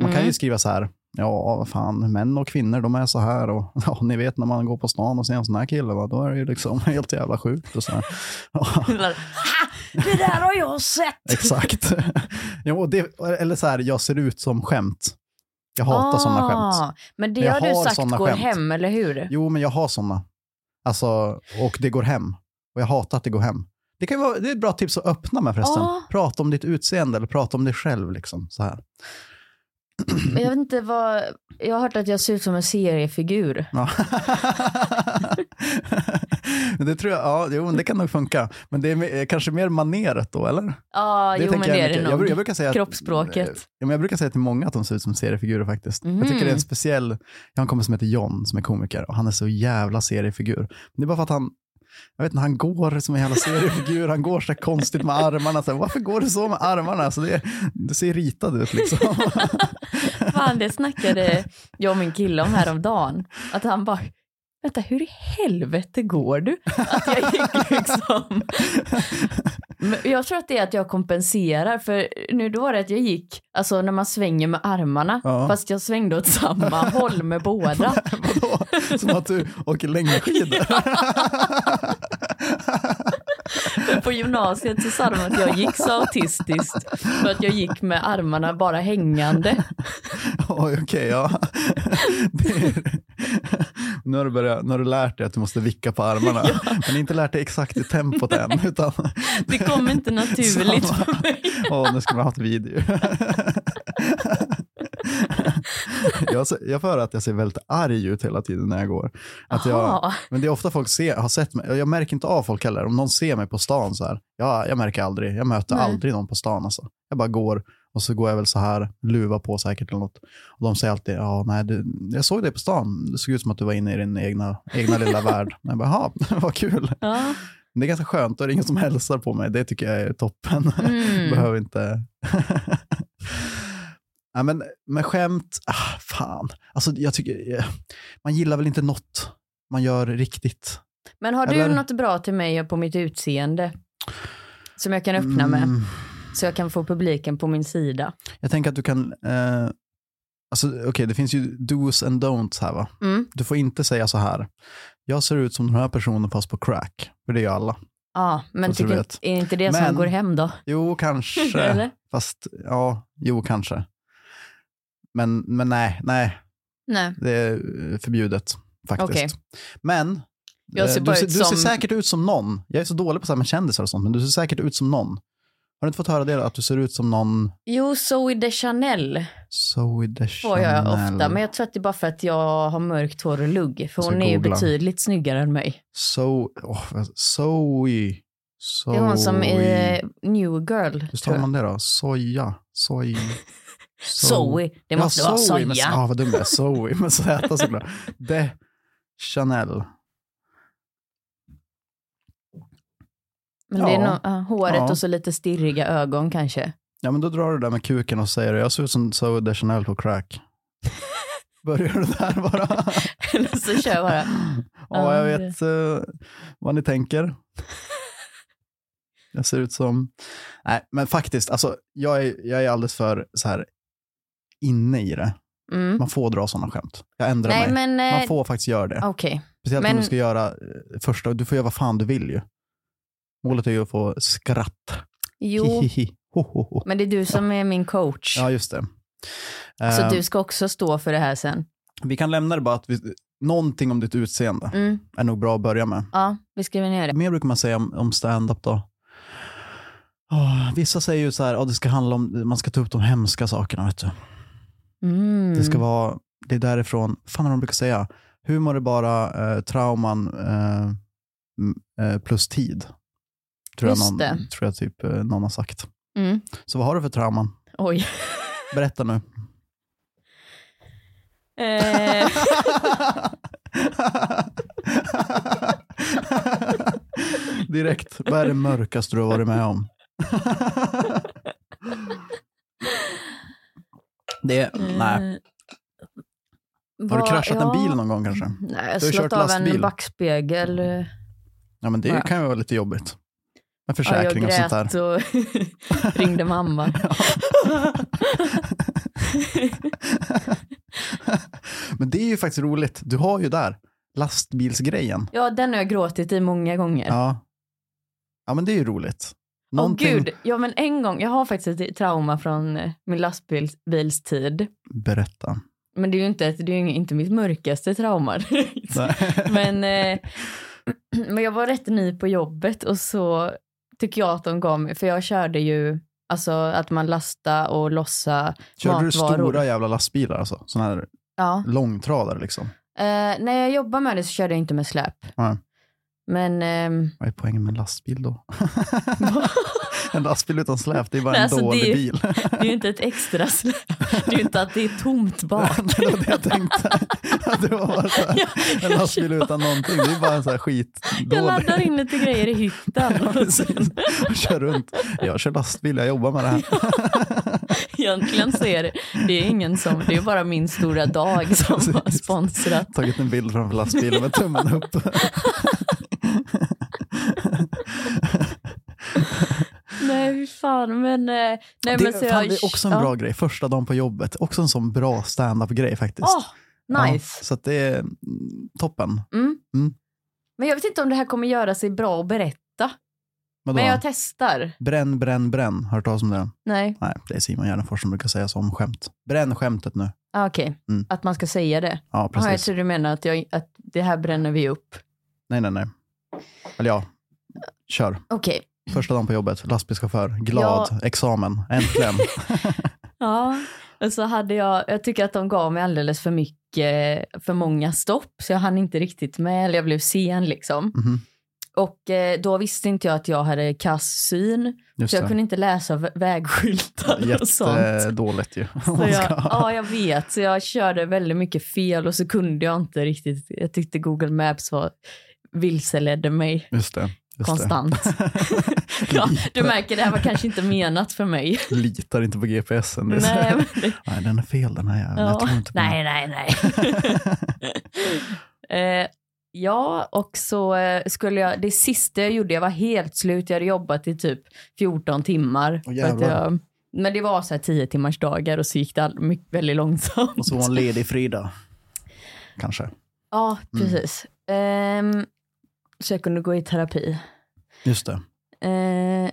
S2: Man kan ju
S1: Mm.
S2: skriva så här, ja, vad fan, män och kvinnor, de är så här. Och, <laughs> ja, ni vet när man går på stan och ser en sån här kille, va, då är det ju liksom <laughs> helt jävla sjukt. Och så här. <laughs> Ja,
S1: Ha, det där har jag sett!
S2: <laughs> exakt. ja, och det, eller så här, jag ser ut som skämt. Jag hatar såna skämt.
S1: Ah, Men det
S2: Men jag
S1: har du
S2: har
S1: sagt
S2: såna
S1: går
S2: skämt.
S1: hem, eller
S2: <clears throat>
S1: hur?
S2: Jo, men jag har sådana. Alltså, och det går hem. Och jag hatar att det går hem. Det, kan ju vara, det är ett bra tips att öppna med förresten.
S1: Ja.
S2: Prata om ditt utseende eller prata om dig själv. Liksom, så här.
S1: Men jag vet inte vad, jag har hört att jag ser ut som en seriefigur.
S2: Ja. <laughs> Men det tror jag, ja, jo, men det kan nog funka. Men det är me- kanske mer maneret då, eller?
S1: Ja, jo men
S2: tänker
S1: det är
S2: mycket.
S1: det nog.
S2: jag, bru- jag brukar säga att,
S1: Kroppsspråket.
S2: Ja, men jag brukar säga till många att de ser ut som seriefigurer faktiskt.
S1: Mhm.
S2: Jag tycker det är en speciell, jag har en kompis som heter John som är komiker och han är så jävla seriefigur. Det är bara för att han, jag vet inte, han går som en jävla seriefigur, han går så här konstigt med armarna. Så här, varför går du så med armarna? Så det, du ser ritad ut liksom. <laughs>
S1: Fan, det snackade jag och min kille om häromdagen. Att han bara, vänta, hur i helvete går du? Att jag gick liksom... Men jag tror att det är att jag kompenserar, för nu då var det att jag gick, alltså när man svänger med armarna,
S2: Ja.
S1: fast jag svängde åt
S2: <laughs>
S1: samma håll med båda.
S2: Vadå? Som att du åker längdskidor.
S1: För på gymnasiet så sa de att jag gick så autistiskt, för att jag gick med armarna bara hängande.
S2: Oj, okej, ja. Det är... nu, har du börjat, nu har du lärt dig att du måste vicka på armarna, men inte lärt dig exakt i tempot än. Utan...
S1: Det kom inte naturligt
S2: Samma.
S1: för mig.
S2: <laughs> Åh, nu ska man ha ett video. <laughs> jag, ser- jag får höra att jag ser väldigt arg ut hela tiden när jag går. Att jag,
S1: Jaha.
S2: men det är ofta folk ser, har sett mig, jag märker inte av folk heller. Om någon ser mig på stan så här, ja, jag märker aldrig, jag möter
S1: Nej.
S2: aldrig någon på stan. Alltså. Jag bara går och så går jag väl så här, luva på säkert eller något. Och de säger alltid, ja, nej, du, jag såg dig på stan, det såg ut som att du var inne i din egna, egna lilla värld. Jag bara, "Jaha, <laughs> vad kul.
S1: Ja.
S2: Det är ganska skönt och det är ingen som hälsar Mm. på mig. Det tycker jag är toppen.
S1: Mm.
S2: Behöver inte... <laughs> Ja, men, men skämt, ah, fan. Alltså, jag tycker, eh, man gillar väl inte något man gör riktigt.
S1: Men har du
S2: Eller-
S1: något bra till mig på mitt utseende? Som jag kan öppna med.
S2: Mm,
S1: Så jag kan få publiken på min sida.
S2: jag tänker att du kan, eh, alltså, okej det finns ju do's and don'ts här va.
S1: Mm.
S2: Du får inte säga så här, jag ser ut som den här personen fast på crack. För det gör alla.
S1: Ja, men
S2: Så du
S1: tycker,
S2: vet.
S1: är inte det som
S2: Men-
S1: går hem då?
S2: Jo, kanske.
S1: <laughs> Eller?
S2: fast, ja, jo, kanske. Men, men nej, nej,
S1: Nej.
S2: Det är eh, förbjudet faktiskt.
S1: Okej.
S2: Men
S1: Jag
S2: eh,
S1: ser
S2: du,
S1: bara
S2: ser,
S1: ut
S2: du ser
S1: som-
S2: säkert ut som någon. Jag är så dålig på så här med kändisar och sånt, men du ser säkert ut som någon. Har du inte fått höra det? Att du ser ut som någon
S1: Jo, Zoe de Chanel
S2: Zoe
S1: får
S2: Deschanel?
S1: jag ofta. Men jag tror att det är bara för att jag har mörkt hår och lugg. För
S2: Jag ska
S1: hon är ju
S2: googla.
S1: betydligt snyggare än mig.
S2: So, oh, vad- Zoe. Zoe.
S1: Det är hon som eh, är New Girl.
S2: Hur
S1: tror
S2: står
S1: jag.
S2: man det
S1: <laughs>
S2: då? Soja. Soj.
S1: Zoe. Det måste vara
S2: Zoe med-
S1: soja.
S2: Ja, vad dum jag är. Zoe med Z <laughs> såklart. De Chanel.
S1: Men det är
S2: Ja.
S1: no- ja, håret
S2: Ja.
S1: och så lite stirriga ögon kanske. <laughs>
S2: Ja men då drar du det där med kuken och säger jag ser ut som Zoe Deschanel
S1: <laughs>
S2: på crack. Börjar du där bara?
S1: Eller så kör jag bara.
S2: <laughs> Ja, jag
S1: Ja,
S2: vet eh, vad ni tänker. Jag ser ut som... Nej, men faktiskt, alltså, jag, är, jag är alldeles för så här inne i det.
S1: Mm.
S2: Man får dra sådana skämt. Jag ändrar
S1: Nej
S2: mig.
S1: men
S2: Man
S1: eh,
S2: får faktiskt göra det.
S1: okej.
S2: Speciellt
S1: men-
S2: om du ska göra eh, första, du får göra vad fan du vill ju. Målet är ju att få skratt.
S1: Jo,
S2: Hihihi. Ho, ho, ho.
S1: men det är du som är min coach.
S2: Ja, just det.
S1: Så
S2: Eh,
S1: Alltså, du ska också stå för det här sen.
S2: Vi kan lämna det bara att vi, någonting om ditt utseende
S1: Mm.
S2: är nog bra att börja med.
S1: Ja, vi skriver ner det.
S2: Mer brukar man säga om, om stand-up då. Åh, vissa säger ju så här, "Ja, det ska handla om, man ska ta upp de hemska sakerna. Vet du.
S1: Mm.
S2: Det ska vara, det är därifrån, fan vad de brukar säga, humor är bara eh, trauman eh, m- eh, plus tid. Tror jag,
S1: Just
S2: någon,
S1: det.
S2: tror jag typ eh, någon har sagt.
S1: mm.
S2: Så vad har du för trauman?
S1: Oj. <laughs>
S2: Berätta nu.
S1: Eh,
S2: <laughs> Direkt, vad är det mörkaste du har varit med om? <laughs> det, <laughs> nej.
S1: eh,
S2: Har du
S1: vad-
S2: kraschat
S1: ja.
S2: en bil någon gång kanske?
S1: Nej, jag har
S2: Du har
S1: slått
S2: kört
S1: av
S2: lastbil.
S1: en backspegel. eh,
S2: Ja men det
S1: Ja.
S2: kan ju vara lite jobbigt. Med
S1: Ja, jag
S2: försäkring och sånt där.
S1: grät och <laughs> ringde mamma.
S2: <laughs> Men det är ju faktiskt roligt. Du har ju där lastbilsgrejen.
S1: Ja, den har jag gråtit i många gånger.
S2: Ja. Ja men det är ju roligt.
S1: Åh gud, ja men en gång, jag har faktiskt ett trauma från eh, min lastbilstid. <laughs>
S2: Berätta.
S1: Men det är ju inte, ett- det är ju inte mitt mörkaste trauma. <laughs> direkt. men, eh, <clears throat> men jag var rätt ny på jobbet och så tycker jag att de gav mig, för jag körde ju, alltså att man lasta och lossa.
S2: Körde du
S1: matvaror.
S2: stora jävla lastbilar alltså? Sådana här
S1: Ja.
S2: långtradare liksom?
S1: Eh, när jag jobbade med det så körde jag inte med släp.
S2: Nej.
S1: Men ehm,
S2: Vad är poängen med en
S1: <laughs>
S2: lastbil då? en lastbil utan släp, det är bara
S1: Nej,
S2: en
S1: alltså,
S2: dålig
S1: det är-
S2: bil. <laughs>
S1: det är ju inte ett extra släp. Det är ju inte att det är tomt bak.
S2: det var det jag tänkte. Att det var bara så här, en lastbil utan någonting, det är bara en sån här skitdålig.
S1: Jag laddar in lite grejer i hytten.
S2: <laughs> Ja,
S1: och
S2: precis.
S1: sen,
S2: Och kör runt. Jag kör lastbil, jag jobbar med det här.
S1: egentligen så är det, det är ingen som, det är bara min stora dag som har
S2: Precis.
S1: sponsrat.
S2: Tagit en bild framför lastbilen med tummen upp.
S1: Nej, fy fan. Men, eh, nej, men så
S2: det, fan,
S1: jag,
S2: det är också en bra grej, första dagen på jobbet. Också en sån bra stand-up-grej faktiskt.
S1: Ja. Åh,
S2: Ja,
S1: nice.
S2: så att det är mm, toppen.
S1: Mm.
S2: Mm.
S1: Men jag vet inte om det här kommer göra sig bra att berätta.
S2: Vadå?
S1: Men jag testar.
S2: Bränn, bränn, bränn. Har du hört talas om det?
S1: Nej,
S2: Nej, det är Simon Gärdenfors som brukar säga som skämt. Bränn skämtet nu.
S1: ah, okej.
S2: Mm.
S1: Att man ska säga det.
S2: Ja,
S1: Ah, jag
S2: precis.
S1: tror du menar att, jag, att det här bränner vi upp.
S2: Nej, nej, nej. Eller ja, kör.
S1: Okej.
S2: Första dagen på jobbet, lastbilschaufför, glad, examen,
S1: <laughs>
S2: äntligen.
S1: Ja, och så hade jag, jag tycker att de gav mig alldeles för mycket, för många stopp så jag hann inte riktigt med, eller jag blev sen liksom.
S2: Mhm,
S1: Och eh, då visste inte jag att jag hade kass syn,
S2: just
S1: så jag
S2: det.
S1: kunde inte läsa vä- vägskyltar och sånt.
S2: Jättedåligt ju. <laughs> om
S1: Så
S2: man
S1: jag,
S2: ska-
S1: ja, jag vet, så jag körde väldigt mycket fel och så kunde jag inte riktigt, jag tyckte Google Maps var vilseledde mig.
S2: Just det. det. <laughs>
S1: konstant. ja, du märker, det här var kanske inte menat för
S2: <laughs>
S1: mig.
S2: Litar inte på GPSen. Det är så-
S1: nej, men,
S2: <laughs> Nej, den är fel den här jäveln. Jag
S1: ja.
S2: tror inte på
S1: nej, nej,
S2: <laughs>
S1: nej. eh, ja, och så eh, skulle jag, det sista jag gjorde, jag var helt slut. Jag hade jobbat i typ 14 timmar.
S2: Åh,
S1: för att
S2: jävlar.
S1: jag, men det var så här 10 timmars dagar och så gick det all, mycket, väldigt långsamt.
S2: Och så var hon ledig fredag. Kanske.
S1: Ja,
S2: Mm.
S1: precis. Ehm, så jag kunde gå i terapi. <laughs>
S2: Just det.
S1: Eh,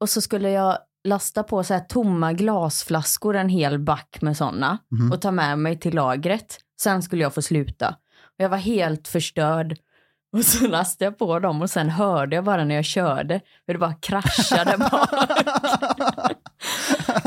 S1: och så skulle jag lasta på så här tomma glasflaskor, en hel back med sådana
S2: Mhm.
S1: och ta med mig till lagret. Sen skulle jag få sluta. Och jag var helt förstörd. <laughs> Och så lastade jag på dem och sen hörde jag bara när jag körde hur det bara
S2: <laughs>
S1: kraschade bak.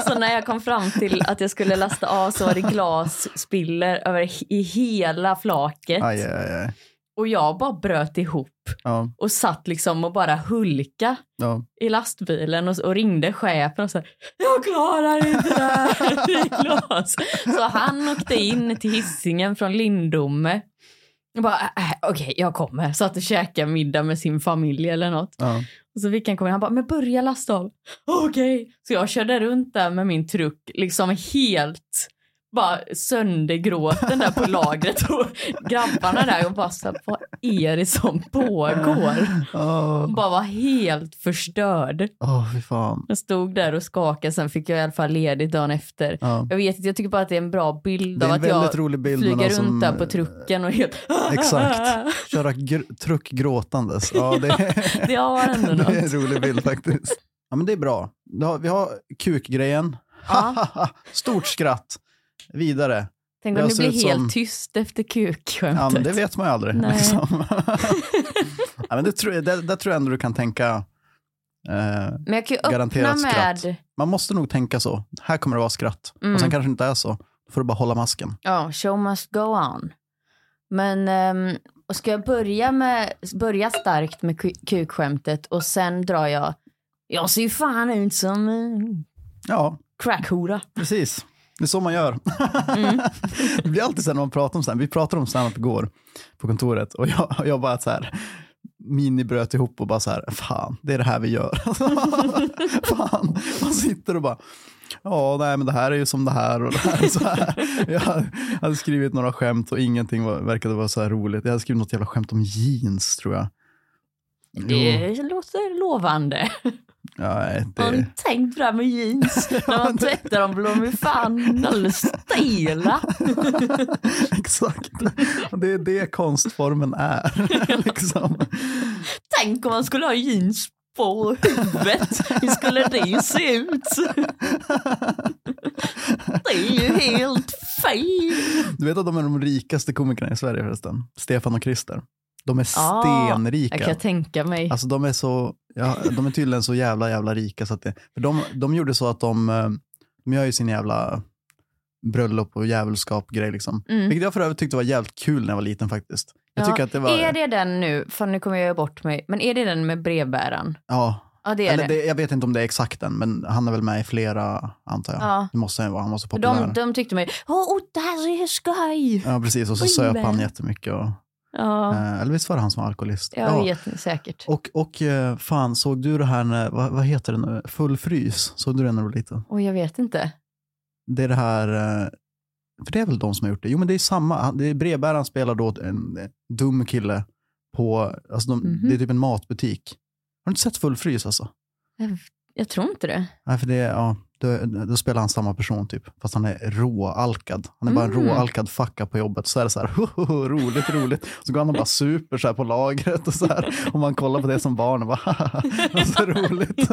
S1: Så när jag kom fram till att jag skulle lasta av så var det glasspiller över he- i hela flaket.
S2: Aj, aj, aj.
S1: Och jag bara bröt ihop
S2: Ja,
S1: och satt liksom och bara hulka
S2: ja.
S1: i lastbilen och, och ringde chefen och sa jag klarar inte det här <laughs> i glas. Så han åkte in till hissingen från Lindome. Och bara, äh, äh, okej, jag kommer. Satt och käkade middag med sin familj eller något.
S2: ja.
S1: Och så fick han komma in. Han bara, men börja lasta av. Okej. Så jag körde runt där med min truck, liksom helt bara söndergråten där på lagret och grabbarna där och bara så här, vad är det som pågår?
S2: Åh,
S1: Bara var helt förstörd.
S2: Åh, fy fan.
S1: Jag stod där och skakade, sen fick jag i alla fall ledigt dagen efter.
S2: Ja.
S1: Jag vet inte, jag tycker bara att det är en bra bild
S2: Det är
S1: av
S2: en
S1: att jag
S2: väldigt rolig bild. men
S1: flyger
S2: någon som-
S1: runt där på trucken och helt...
S2: Exakt.
S1: <laughs>
S2: Köra gr- truck gråtandes. Ja, det,
S1: Det har ändå
S2: <laughs> det är
S1: något.
S2: en rolig bild faktiskt. Ja, men det är bra. Då har- Vi har kukgrejen.
S1: Ja,
S2: <laughs> Stort skratt. Vidare.
S1: tänk om
S2: Jag
S1: det
S2: ser
S1: blir
S2: ut
S1: helt
S2: som-
S1: tyst efter
S2: Ja, men
S1: kukskämtet.
S2: det vet man ju aldrig.
S1: Nej. <laughs>
S2: Liksom. <laughs> ja, men det, tror, jag- det, det tror jag ändå du kan tänka. Eh,
S1: men jag kan ju öppna
S2: Garanterat skratt.
S1: med...
S2: man måste nog tänka så. Här kommer det vara skratt.
S1: Mm.
S2: Och sen kanske det inte är så. Då får du bara hålla masken.
S1: Ja, show must go on. Men ehm, och ska jag börja, med, börja starkt med ku- kukskämtet och sen drar jag... Jag ser ju fan ut som en
S2: Ja,
S1: crackhora.
S2: precis. Det är så man gör.
S1: Mm.
S2: <laughs> Det blir alltid så här när man pratar om stand Vi pratade om stand igår på kontoret och jag, jag bara så här mini bröt ihop och bara så här, fan, det är det här vi gör. <laughs> fan, man sitter och bara, ja, nej, men det här är ju som det här och det här är så här. <laughs> Jag hade skrivit några skämt och ingenting var, verkade vara så här roligt. Jag hade skrivit något jävla skämt om jeans tror jag. Jo,
S1: Det låter lovande.
S2: nej,
S1: Har ni
S2: det,
S1: tänkt på det här med jeans? När man tvättar dem blir de ju fan alldeles stela.
S2: <laughs> exakt. Och Det är det konstformen är. <laughs> liksom.
S1: Tänk om man skulle ha jeans på huvudet. Hur skulle det se ut? Det är ju helt fel.
S2: Du vet att de är de rikaste komikerna i Sverige förresten? Stefan och Christer. De är
S1: Ah,
S2: stenrika.
S1: Jag kan tänka mig.
S2: Alltså de är så, ja, de är tydligen så jävla jävla rika. Så att det, för de, de gjorde så att de, eh, de gör ju sin jävla bröllop och jävelskap grej liksom.
S1: Mm.
S2: Vilket jag för övrigt tyckte var jävligt kul när jag var liten faktiskt. Jag
S1: Ja,
S2: tycker att det var,
S1: Är det den nu, fan nu kommer jag göra bort mig, men är det den med brevbäraren?
S2: ja,
S1: Ja det är
S2: eller
S1: det.
S2: det, jag vet inte om det är exakt den, men han är väl med i flera antar jag.
S1: Ja.
S2: Det måste han ju vara, han var så populär.
S1: De, de tyckte mig, åh oh, det här är skoj.
S2: Ja, precis. Och så
S1: Oj,
S2: söp
S1: men.
S2: han jättemycket. Och,
S1: Ja,
S2: eh, Eller visst var det han som var alkoholist?
S1: jag vet säkert.
S2: Och, och eh, fan, såg du det här, när, vad, vad heter det nu, Full frys? Såg du det när du var liten?
S1: Och jag vet inte.
S2: Det är det här, eh, för det är väl de som har gjort det? Jo men det är samma, Han- det är brevbäraren spelar då en eh, dum kille på, alltså de,
S1: Mhm.
S2: det är typ en matbutik. Har du inte sett Full frys alltså?
S1: Jag tror inte
S2: <laughs>
S1: det.
S2: Nej för det, är- ja, då, då spelar han samma person typ, fast han är råalkad. Han är bara en
S1: Mm.
S2: råalkad facka på jobbet. Så är det så här, <laughs> hohoho, roligt, roligt. Så går han och bara super så här på lagret och så här. Och man kollar på det som barn och bara, <laughs> haha, vad så roligt.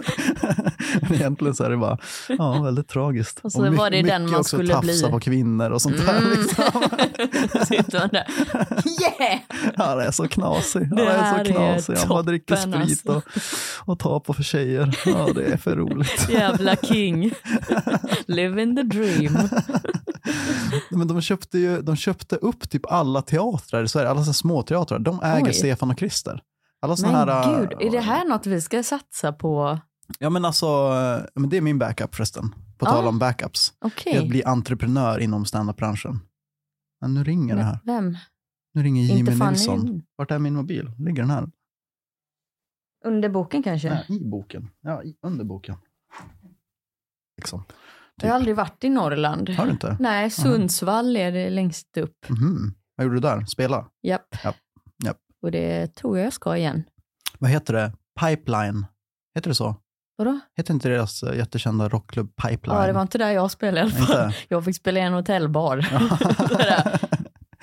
S2: <laughs> Men egentligen så är det bara, ja, väldigt tragiskt.
S1: Och så
S2: my-
S1: var det den
S2: mycket
S1: man
S2: också
S1: skulle
S2: tafsa
S1: bli.
S2: på kvinnor och sånt där.
S1: Mm.
S2: Liksom. <laughs>
S1: Sitter man där. Yeah!
S2: Han är så knasig. Han
S1: Det
S2: är
S1: här
S2: så
S1: är
S2: knasig. Han bara dricker
S1: toppen, alltså.
S2: sprit och, och tar på för tjejer. Ja, det är för roligt.
S1: Jävla
S2: <laughs>
S1: king. Living the dream.
S2: Nej, Men de köpte ju de köpte upp typ alla teatrar i Sverige, alla så här små teatrar. De äger
S1: Oj.
S2: Stefan och Christer. Alla såna
S1: Men
S2: här, äh,
S1: gud, är det här något vi ska satsa på?
S2: Ja men alltså, äh, men det är min backup förresten. På
S1: Ja.
S2: tal om backups.
S1: Okej.
S2: Jag blir entreprenör inom standup-branschen. Ja, nu ringer det här.
S1: Vem?
S2: Nu ringer Jimmy
S1: inte Fanny.
S2: Nilsson. Vart är min mobil? Ligger den här?
S1: Under boken kanske?
S2: Nej, typ. I boken. Ja, i, under boken. Liksom.
S1: Jag har aldrig varit i Norrland.
S2: Har du inte?
S1: Nej, Sundsvall är det längst upp.
S2: Mhm. Vad gjorde du där? Spela?
S1: Japp.
S2: Japp. Japp.
S1: Och det tror jag jag ska igen.
S2: Vad heter det? Pipeline? Heter det så?
S1: Vadå?
S2: Heter inte deras eh, jättekända rockklubb Pipeline?
S1: Ja, det var inte där jag spelade i alla fall.
S2: Inte?
S1: Jag fick spela i en
S2: <laughs>
S1: hotellbar. <laughs> Det där.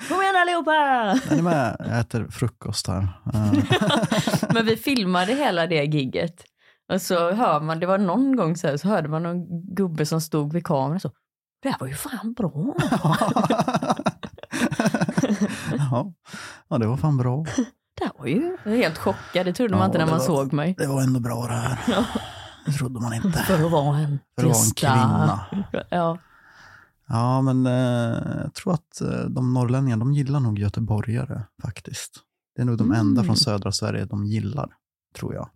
S1: Kom igen
S2: <laughs>
S1: allihopa!
S2: Är ni med? Jag äter frukost här. Eh,
S1: <laughs> Men vi filmade hela det gigget. Och så hör man, det var någon gång så här, så hörde man någon gubbe som stod vid kameran så. Det här var ju fan bra.
S2: ja. ja, det var fan bra.
S1: Det här var ju jag är helt chockad. Det trodde
S2: Ja,
S1: man inte när
S2: det
S1: man
S2: var-
S1: såg mig.
S2: Det var ändå bra det här. Det trodde man inte.
S1: För att vara en
S2: För att vara en
S1: trista-
S2: kvinna.
S1: Ja.
S2: Ja, men eh, jag tror att eh, de norrlänningarna, de gillar nog göteborgare faktiskt. Det är nog de
S1: Mm.
S2: enda från södra Sverige de gillar, tror jag.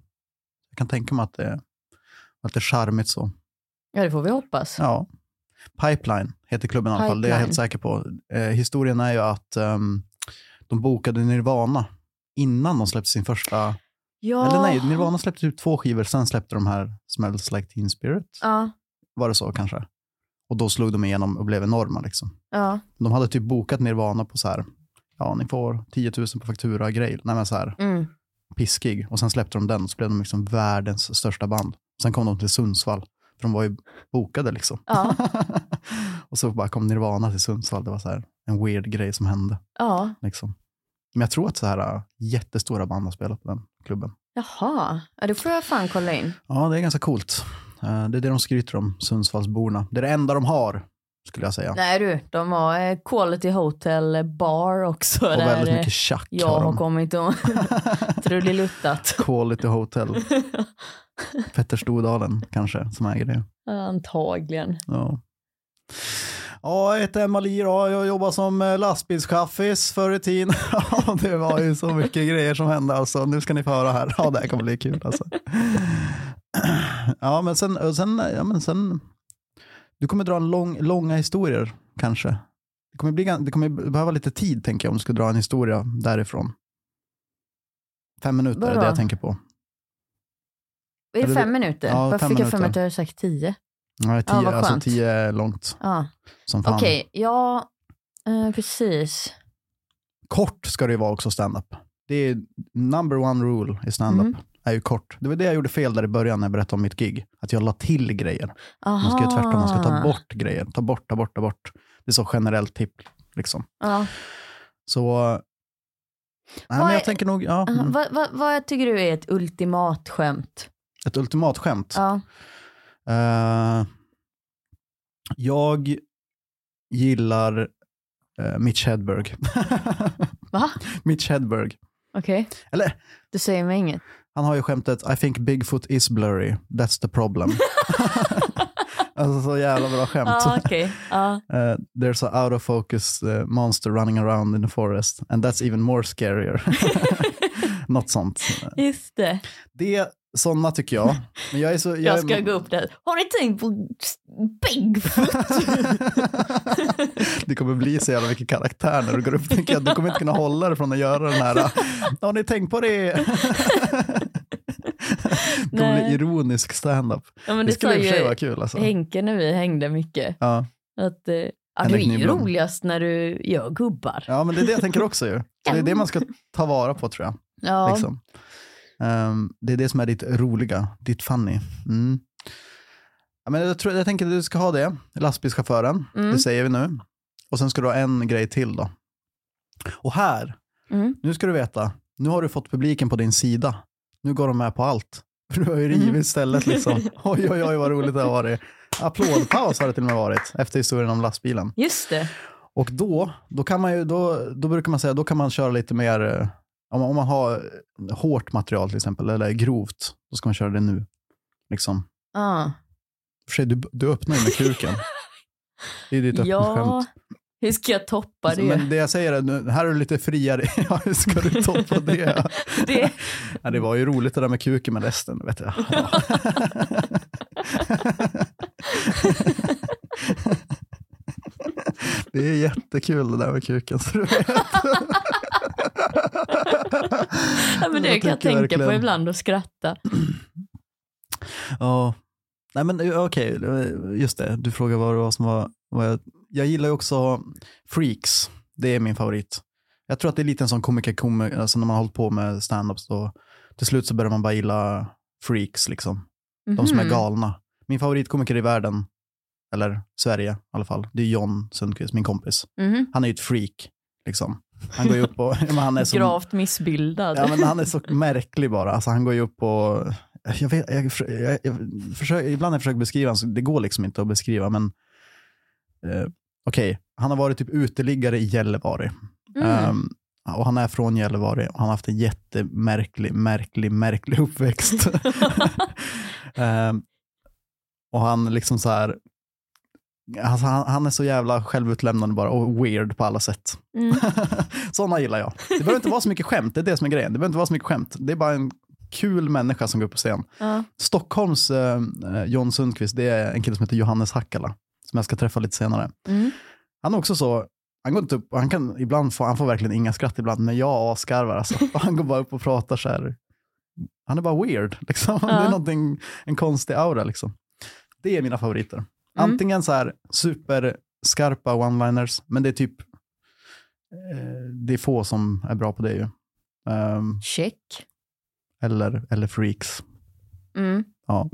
S2: Jag kan tänka mig att det är lite charmigt så.
S1: ja, det får vi hoppas.
S2: Ja. Pipeline heter klubben i alla fall, det är jag helt säker på. Eh, historien är ju att ehm, de bokade Nirvana innan de släppte sin första...
S1: Ja.
S2: Eller nej, Nirvana släppte ut två skivor, sen släppte de här Smells Like Teen Spirit.
S1: Ja,
S2: Var det så kanske? Och då slog de igenom och blev enorma liksom.
S1: ja.
S2: De hade typ bokat Nirvana på så här, ja ni får 10 000 på faktura grej. Nej men så här,
S1: Mm.
S2: piskig. Och sen släppte de den och så blev de liksom världens största band. Sen kom de till Sundsvall, för de var ju bokade liksom.
S1: Ja.
S2: <laughs> och så bara kom Nirvana till Sundsvall, det var så här en weird grej som hände.
S1: ja.
S2: Liksom. Men jag tror att så här äh, jättestora band har spelat på den klubben.
S1: Jaha, ja, det får jag fan kolla in.
S2: Ja, det är ganska coolt. Eh, Det är det de skryter om, Sundsvallsborna. Det är det enda de har, skulle jag säga.
S1: Nej du, de har eh, Quality Hotel Bar också.
S2: och
S1: där
S2: väldigt
S1: eh,
S2: mycket tjack
S1: jag
S2: har
S1: har
S2: de.
S1: kommit
S2: <laughs>
S1: och trudeluttat.
S2: Quality Hotel.
S1: <laughs>
S2: Petter Stordalen kanske som äger det.
S1: Antagligen.
S2: Ja. Ja, jag heter Emma-Li då. Jag jobbar som eh, lastbilschaffis förr i tiden. <laughs> Ja, det var ju så mycket grejer som hände alltså. Nu ska ni få höra här. Ja, det här kommer bli kul alltså. Ja, men sen, och sen, ja, men sen du kommer dra en lång, långa historier kanske. Det kommer, bli, gan- det kommer behöva lite tid tänker jag om du ska dra en historia därifrån. Fem minuter är det
S1: Vadå?
S2: jag tänker på.
S1: Är det
S2: Eller-
S1: fem minuter?
S2: Ja,
S1: Varför
S2: fem
S1: fick jag för
S2: minuter.
S1: mig att jag hade sagt tio?
S2: Nej, tio,
S1: vad
S2: alltså
S1: skönt.
S2: tio är långt
S1: Ja.
S2: som fan.
S1: Okej, ja, eh, precis.
S2: Kort ska det ju vara också stand-up. Det är number one rule i stand-up.
S1: Mm.
S2: Är ju kort. Det var det jag gjorde fel där i början när jag berättade om mitt gig. Att jag la till grejer.
S1: Aha.
S2: Man ska ju tvärtom, man ska ta bort grejer. Ta bort, ta bort, ta bort. Det är så generellt tipp. Liksom.
S1: Ja.
S2: Så... eh, Nej,
S1: Vad
S2: men
S1: är-
S2: jag tänker nog, ja,
S1: Aha,
S2: mm.
S1: Vad, vad, vad tycker du är ett ultimat skämt?
S2: ett ultimat skämt.
S1: Ja.
S2: Eh, jag gillar eh, Mitch Hedberg. <laughs>
S1: Va?
S2: Mitch Hedberg.
S1: Okej.
S2: Eller-
S1: Du säger mig inget.
S2: Han har ju skämtet I think Bigfoot is blurry, that's the problem.
S1: <laughs>
S2: <laughs> alltså så jävla bra skämt.
S1: Ja, okej. Ja.
S2: <laughs> Eh, there's a out of focus eh, monster running around in the forest and that's even more scarier. <laughs> Något sånt.
S1: Just det.
S2: Det, sådana tycker jag. Men jag är så...
S1: Jag ska gå upp där. Har ni tänkt på Bigfoot?
S2: <laughs> det kommer bli så jävla mycket karaktär när du går upp. Tänker jag. Du kommer inte kunna hålla dig från att göra den här, har ni tänkt på det? <laughs> det kommer bli
S1: Nej.
S2: ironisk standup.
S1: Ja, men
S2: Det
S1: det,
S2: skulle i och för
S1: sa
S2: sig
S1: ju
S2: vara kul alltså.
S1: Henke när vi hängde mycket.
S2: Ja.
S1: Att, eh, ja, du
S2: Henrik
S1: är ju
S2: Nyblom.
S1: roligast när du gör gubbar.
S2: Ja, men det är det jag tänker
S1: <laughs>
S2: också ju. Så det är det man ska ta vara på tror jag.
S1: Ja,
S2: Liksom. Ehm, det är det som är ditt roliga, ditt funny. Mm. Ja, men jag, tror, jag tänker att du ska ha det, lastbilschauffören,
S1: Mm.
S2: det säger vi nu. Och sen ska du ha en grej till då. Och här,
S1: Mm.
S2: nu ska du veta, nu har du fått publiken på din sida. Nu går de med på allt. <laughs> För du har
S1: Mm.
S2: ju rivit stället liksom.
S1: <laughs>
S2: Oj, oj, oj vad roligt det har varit. Applådpaus har det till och med varit efter historien om lastbilen.
S1: just det.
S2: Och då, då, kan man ju, då, då brukar man säga då kan man köra lite mer, eh, om man, om man har eh, hårt material till exempel, eller grovt, då ska man köra det nu. Liksom.
S1: Ja.
S2: För sig, du, du öppnar ju med kuken. Det är
S1: <laughs>
S2: ditt
S1: ja,
S2: öppningsskämt.
S1: hur ska jag toppa det?
S2: Men det jag säger är, nu- här är du lite friare, <laughs> ja, hur ska du toppa det?
S1: det
S2: Ja, det var ju roligt det där med kuken med lästen, vet <laughs> jag. Ja. Det är jättekul det där med kuken. Så du vet.
S1: ja,
S2: <laughs>
S1: men det
S2: Jag
S1: kan jag
S2: tycker
S1: tänka på
S2: verkligen-
S1: ibland och skratta.
S2: <laughs> Ja. Nej men eh, okej, eh, just det. Du frågar vad det var som var. Vad jag, jag gillar ju också Freaks. Det är min favorit. Jag tror att det är lite en sån komiker, komiker alltså när man har hållit på med stand-ups då till slut så börjar man bara gilla freaks liksom. De som är
S1: Mhm.
S2: galna. Min favoritkomiker i världen, eller Sverige i alla fall, det är John Sundqvist, min kompis.
S1: Mhm.
S2: Han är ju ett freak liksom. Han går ju upp och, <laughs> ja, men han är som,
S1: Gravt missbildad.
S2: Ja, men han är så märklig bara. Alltså, han går ju upp och... Jag vet, jag, jag, jag försöker, ibland när jag försöker beskriva honom, så det går liksom inte att beskriva, men eh, okej, han har varit typ uteliggare i Gällivare.
S1: Mm.
S2: Ehm, och han är från Gällivare och han har haft en jättemärklig, märklig, märklig <laughs> uppväxt. Ehm, och han liksom så här, alltså, han, han är så jävla självutlämnande bara och weird på alla sätt. <laughs>
S1: Mm.
S2: Sådana gillar jag. Det behöver inte vara så mycket skämt, det är det som är grejen. Det behöver inte vara så mycket skämt. Det är bara en kul människa som går upp på scen.
S1: Ja.
S2: Stockholms eh, eh, John Sundqvist, det är en kille som heter Johannes Hakkala, som jag ska träffa lite senare.
S1: Mm.
S2: Han är också så, han går inte upp, han kan ibland få, han får verkligen inga skratt ibland, men jag
S1: <laughs>
S2: asgarvar alltså. Och han går bara upp och pratar så här. Han är bara weird, liksom. Det
S1: Ja.
S2: är någonting, en konstig aura liksom. Det är mina favoriter.
S1: Mm.
S2: Antingen så här superskarpa one-liners, men det är typ, eh, det är få som är bra på det ju. Ehm,
S1: Check.
S2: eller, eller freaks.
S1: Mm.
S2: Ja.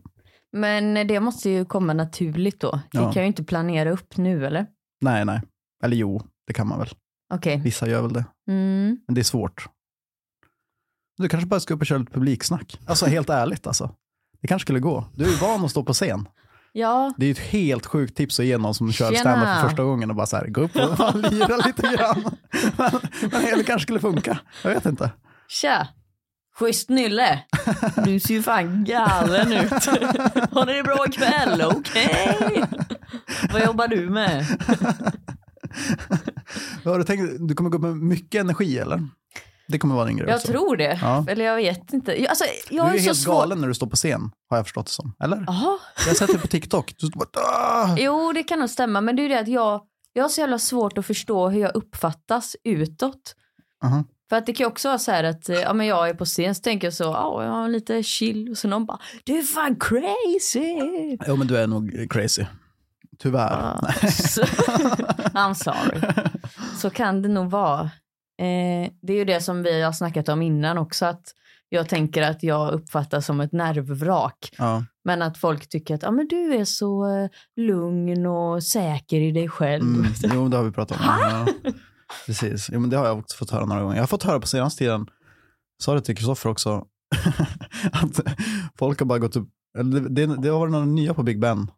S1: Men det måste ju komma naturligt då. Det
S2: Ja.
S1: kan jag ju inte planera upp nu eller?
S2: Nej, nej. Eller jo, det kan man väl.
S1: Okej.
S2: Vissa gör väl det.
S1: Mm.
S2: Men det är svårt. Du kanske bara ska upp och köra lite publiksnack. Alltså helt ärligt alltså. Det kanske skulle gå. Du är ju van att stå på scen.
S1: Ja,
S2: Det är ju ett helt sjukt tips att ge någon som kör
S1: Tjena.
S2: standup för första gången och bara så här, gå upp och <laughs> bara
S1: <laughs>
S2: lira lite grann. Men, men det kanske skulle funka. Jag vet inte.
S1: tja. Schysst
S2: <laughs>
S1: Nylle. Du ser ju fan galen ut. Har ni det bra ikväll? Okej. Vad jobbar du med?
S2: Har du, tänkt, du kommer gå upp med mycket energi eller? Det kommer vara din grej
S1: Jag
S2: också.
S1: tror det.
S2: Ja.
S1: Eller jag vet inte. Jag- Alltså,
S2: Du är
S1: jag
S2: ju
S1: är, så
S2: helt
S1: svår.
S2: galen när du står på scen, har jag förstått det som. Eller?
S1: Jaha.
S2: Jag har sett det på TikTok. Du står bara, "Ah!"
S1: Jo, det kan nog stämma. Men det är ju det att jag, jag har så jävla svårt att förstå hur jag uppfattas utåt.
S2: Aha.
S1: För att det kan ju också vara så här att eh, ja, men jag är på scen så tänker jag så, ja jag har lite chill och så någon bara, du är fan crazy.
S2: Jo, men du är nog crazy. Tyvärr.
S1: Ja, så- I'm sorry. Så kan det nog vara. Eh, det är ju det som vi har snackat om innan också att jag tänker att jag uppfattas som ett nervvrak.
S2: <laughs> Ja.
S1: Men att folk tycker att ja men du är så eh, lugn och säker i dig själv.
S2: Mm, jo, men det har vi pratat om. Ja, precis. Jo, men det har jag också fått höra några gånger. Jag har fått höra på senaste tiden, sa det till Kristoffer också, <laughs> att folk har bara gått upp. eller Det, det, det har varit några nya på Big Ben.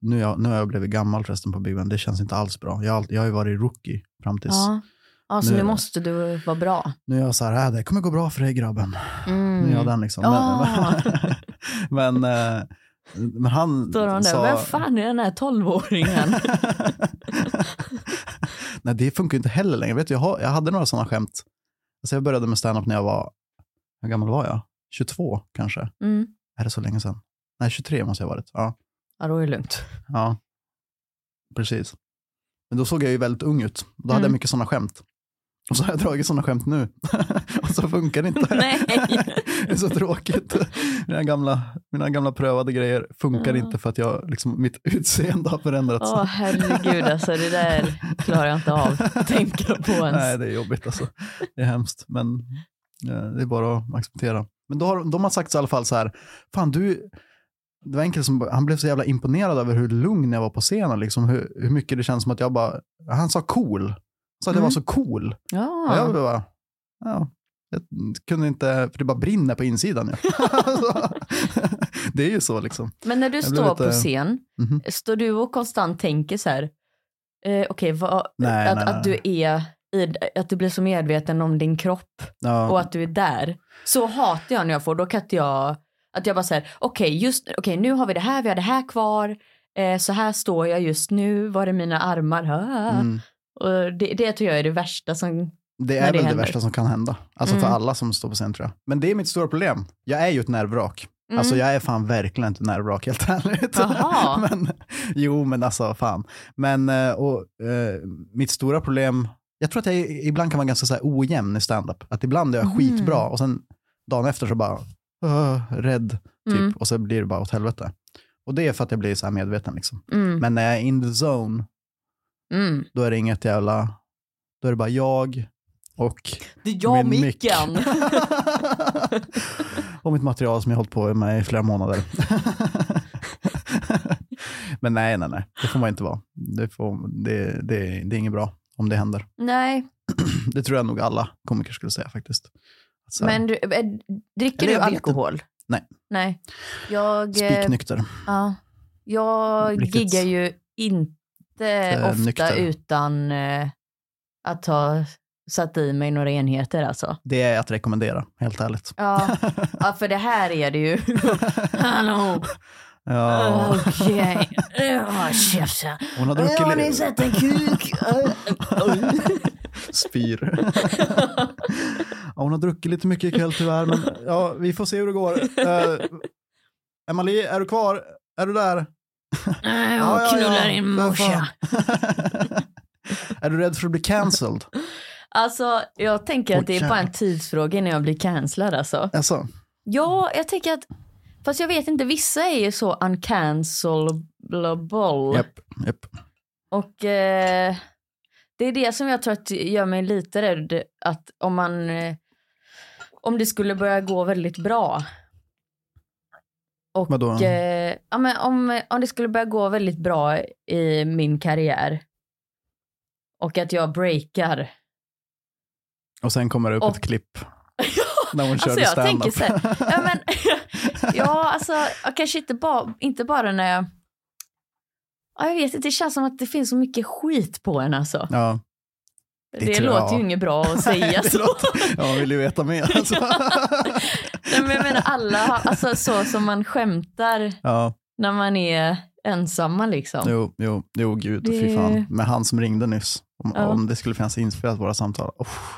S2: Nu, jag, nu har jag blivit gammal förresten på Big Ben. Det känns inte alls bra. Jag, har allt- jag har ju varit rookie fram tills.
S1: Ja. ja, så
S2: Nu
S1: nu,
S2: är det-
S1: måste du vara bra.
S2: Nu är jag så här, äh, det kommer gå bra för dig grabben. Nu är jag
S1: Mm.
S2: den liksom.
S1: Ah.
S2: Men, <laughs> men, eh, men han
S1: Står han där,
S2: sa...
S1: vem fan är den här
S2: <laughs>
S1: tolvåringen?
S2: Nej, det funkar ju inte heller längre. Vet du, jag, har, jag hade några sådana skämt. Alltså jag började med stand-up när jag var, hur gammal var jag? 22 kanske?
S1: Mm.
S2: Är det så länge sedan? Nej, 23 måste jag ha varit. Ja,
S1: Ja, då är det lugnt.
S2: ja. precis. Men då såg jag ju väldigt ung ut. Då hade
S1: Mm.
S2: jag mycket sådana skämt. Och så har jag dragit sådana skämt nu. <laughs> och så funkar det inte.
S1: Nej.
S2: <laughs> det är så tråkigt. Mina gamla, mina gamla prövade grejer funkar
S1: Ja.
S2: inte för att jag, liksom, mitt utseende har förändrats.
S1: Åh herregud, alltså det där klarar jag inte av att <laughs> tänka på ens.
S2: Nej, det är jobbigt alltså. Det är hemskt, men eh, det är bara att acceptera. Men då har, de har sagt så i alla fall så här, fan du, det var en kille som, han blev så jävla imponerad över hur lugn jag var på scenen, liksom, hur, hur mycket det känns som att jag bara, han sa cool. Han sa att jag
S1: Mm.
S2: var så cool. Och jag
S1: ja.
S2: bara, ja, jag kunde inte, för det bara brinner på insidan.
S1: <laughs>
S2: Ja. Alltså, <laughs> det är ju så liksom.
S1: Men när du
S2: blev
S1: står
S2: lite-
S1: på scen,
S2: Mhm.
S1: står du och konstant tänker så här, eh, okej, vad-
S2: Nej,
S1: att,
S2: nej, nej.
S1: att du är i, att du blir så medveten om din kropp
S2: Ja.
S1: och att du är där. Så hatar jag när jag får, då kan inte jag, att jag bara säger, okej just, okej nu har vi det här, vi har det här kvar, eh, så här står jag just nu, var är mina armar? Ah.
S2: Mm.
S1: Och det, det tycker jag är det värsta som, när
S2: Det är
S1: det
S2: väl det
S1: händer.
S2: värsta som kan hända. Alltså för
S1: Mm.
S2: alla som står på scen tror jag. Men det är mitt stora problem. Jag är ju ett nervvrak.
S1: Mm.
S2: Alltså jag är fan verkligen inte nervvrak helt ärligt. <laughs>
S1: Jaha.
S2: men, jo men alltså fan. Men eh, och, eh, mitt stora problem Jag tror att jag ibland kan vara ganska så här ojämn i standup. Att ibland är jag
S1: Mhm.
S2: skitbra och sen dagen efter så bara "Åh, rädd typ.
S1: Mm.
S2: Och så blir det bara åt helvete. Och det är för att jag blir så här medveten liksom.
S1: Mm.
S2: Men när jag är in the zone,
S1: Mm.
S2: då är det inget jävla, då är det bara jag och
S1: Det är jag
S2: Min mick.
S1: micken.
S2: <laughs> och mitt material som jag hållit på med i flera månader. <laughs> Men nej, nej, nej, det får man inte vara. Det, får, det, det, det är inget bra om det händer. <clears throat>
S1: Nej,
S2: Det tror jag nog alla komiker skulle säga faktiskt. Så här,
S1: men du, eh, dricker
S2: Eller
S1: du
S2: jag vet
S1: alkohol?
S2: Nej.
S1: Nej. Jag, eh,
S2: Spiknykter.
S1: ja, jag
S2: Riktigt.
S1: giggar ju inte
S2: Eh,
S1: ofta
S2: nykter.
S1: utan eh, att ha satt i mig några enheter alltså.
S2: Det är att rekommendera, helt ärligt. <laughs>
S1: Ja, ja för det här är det ju. <laughs> Hallå, <laughs>
S2: Ja. <laughs>
S1: okej. Ja, Tjafsa.
S2: Hon har druckit...
S1: Har
S2: li-
S1: ni sett en
S2: <laughs>
S1: kuk?
S2: Spyr. <laughs> ja, hon har druckit lite mycket ikväll tyvärr, men ja, vi får se hur det går. Uh, Emily, är du kvar? Är du där?
S1: Nej,
S2: Ja,
S1: Jag
S2: ja,
S1: knullar
S2: ja.
S1: in
S2: Vad
S1: morsa.
S2: fan. <laughs> är du rädd för att bli cancelled?
S1: Alltså jag tänker att det
S2: Åh,
S1: är bara en tidsfråga innan jag blir cancellad alltså.
S2: Alltså,
S1: Ja, jag tänker att, fast jag vet inte, vissa är ju så uncancelable.
S2: japp, japp.
S1: Och eh, det är det som jag tror att gör mig lite rädd att om man, eh, om det skulle börja gå väldigt bra. Och
S2: Vadå?
S1: eh, ja, men om, om det skulle börja gå väldigt bra i min karriär och att jag breakar.
S2: Och sen kommer det upp
S1: Och-
S2: ett klipp när hon körde
S1: Alltså, jag
S2: stand-up.
S1: tänker så Ja, men, <laughs> ja alltså ja, kanske inte, ba, inte bara när jag... Ja, jag vet inte, det känns som att det finns så mycket skit på en alltså.
S2: <laughs> ja,
S1: Det,
S2: tror jag.
S1: låter ju inget bra
S2: <laughs>
S1: att säga
S2: det
S1: så.
S2: låter- ja, man vill ju veta mer. Alltså. <laughs>
S1: Nej, men jag menar alla, har- alltså så som man skämtar
S2: ja,
S1: när man är ensamma liksom.
S2: jo, jo, jo, gud,
S1: Det-
S2: fy fan. Med han som ringde nyss, om,
S1: Ja.
S2: om det skulle finnas inspelat våra samtal. Uff,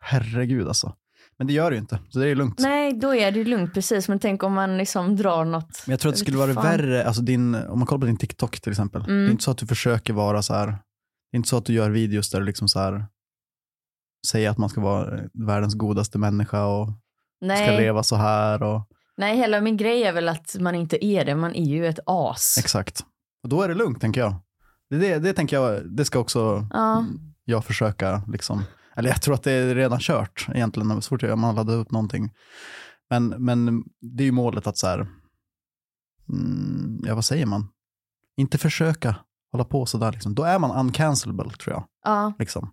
S2: herregud alltså. Men det gör det ju inte, så det är lugnt.
S1: Nej, då är det ju lugnt precis, men tänk om man liksom drar något.
S2: Men jag tror att det
S1: Jag
S2: skulle
S1: vet
S2: vara
S1: fan.
S2: värre, alltså din, om man kollar på din TikTok till exempel.
S1: Mm.
S2: Det är inte så att du försöker vara så här, det är inte så att du gör videos där du liksom så här säger att man ska vara världens godaste människa och ska
S1: Nej, Alltså.
S2: leva så här och
S1: nej, hela min grej är väl att man inte är det, man är ju ett as.
S2: exakt. Och då är det lugnt tänker jag. Det, det, det tänker jag, det ska också
S1: Ja.
S2: jag försöka liksom, eller jag tror att det är redan kört egentligen, så fort jag- man laddar upp någonting. Men, men det är ju målet att så här, mm, ja vad säger man? Inte försöka hålla på sådär liksom. Då är man uncancelable tror jag.
S1: Ja,
S2: Liksom.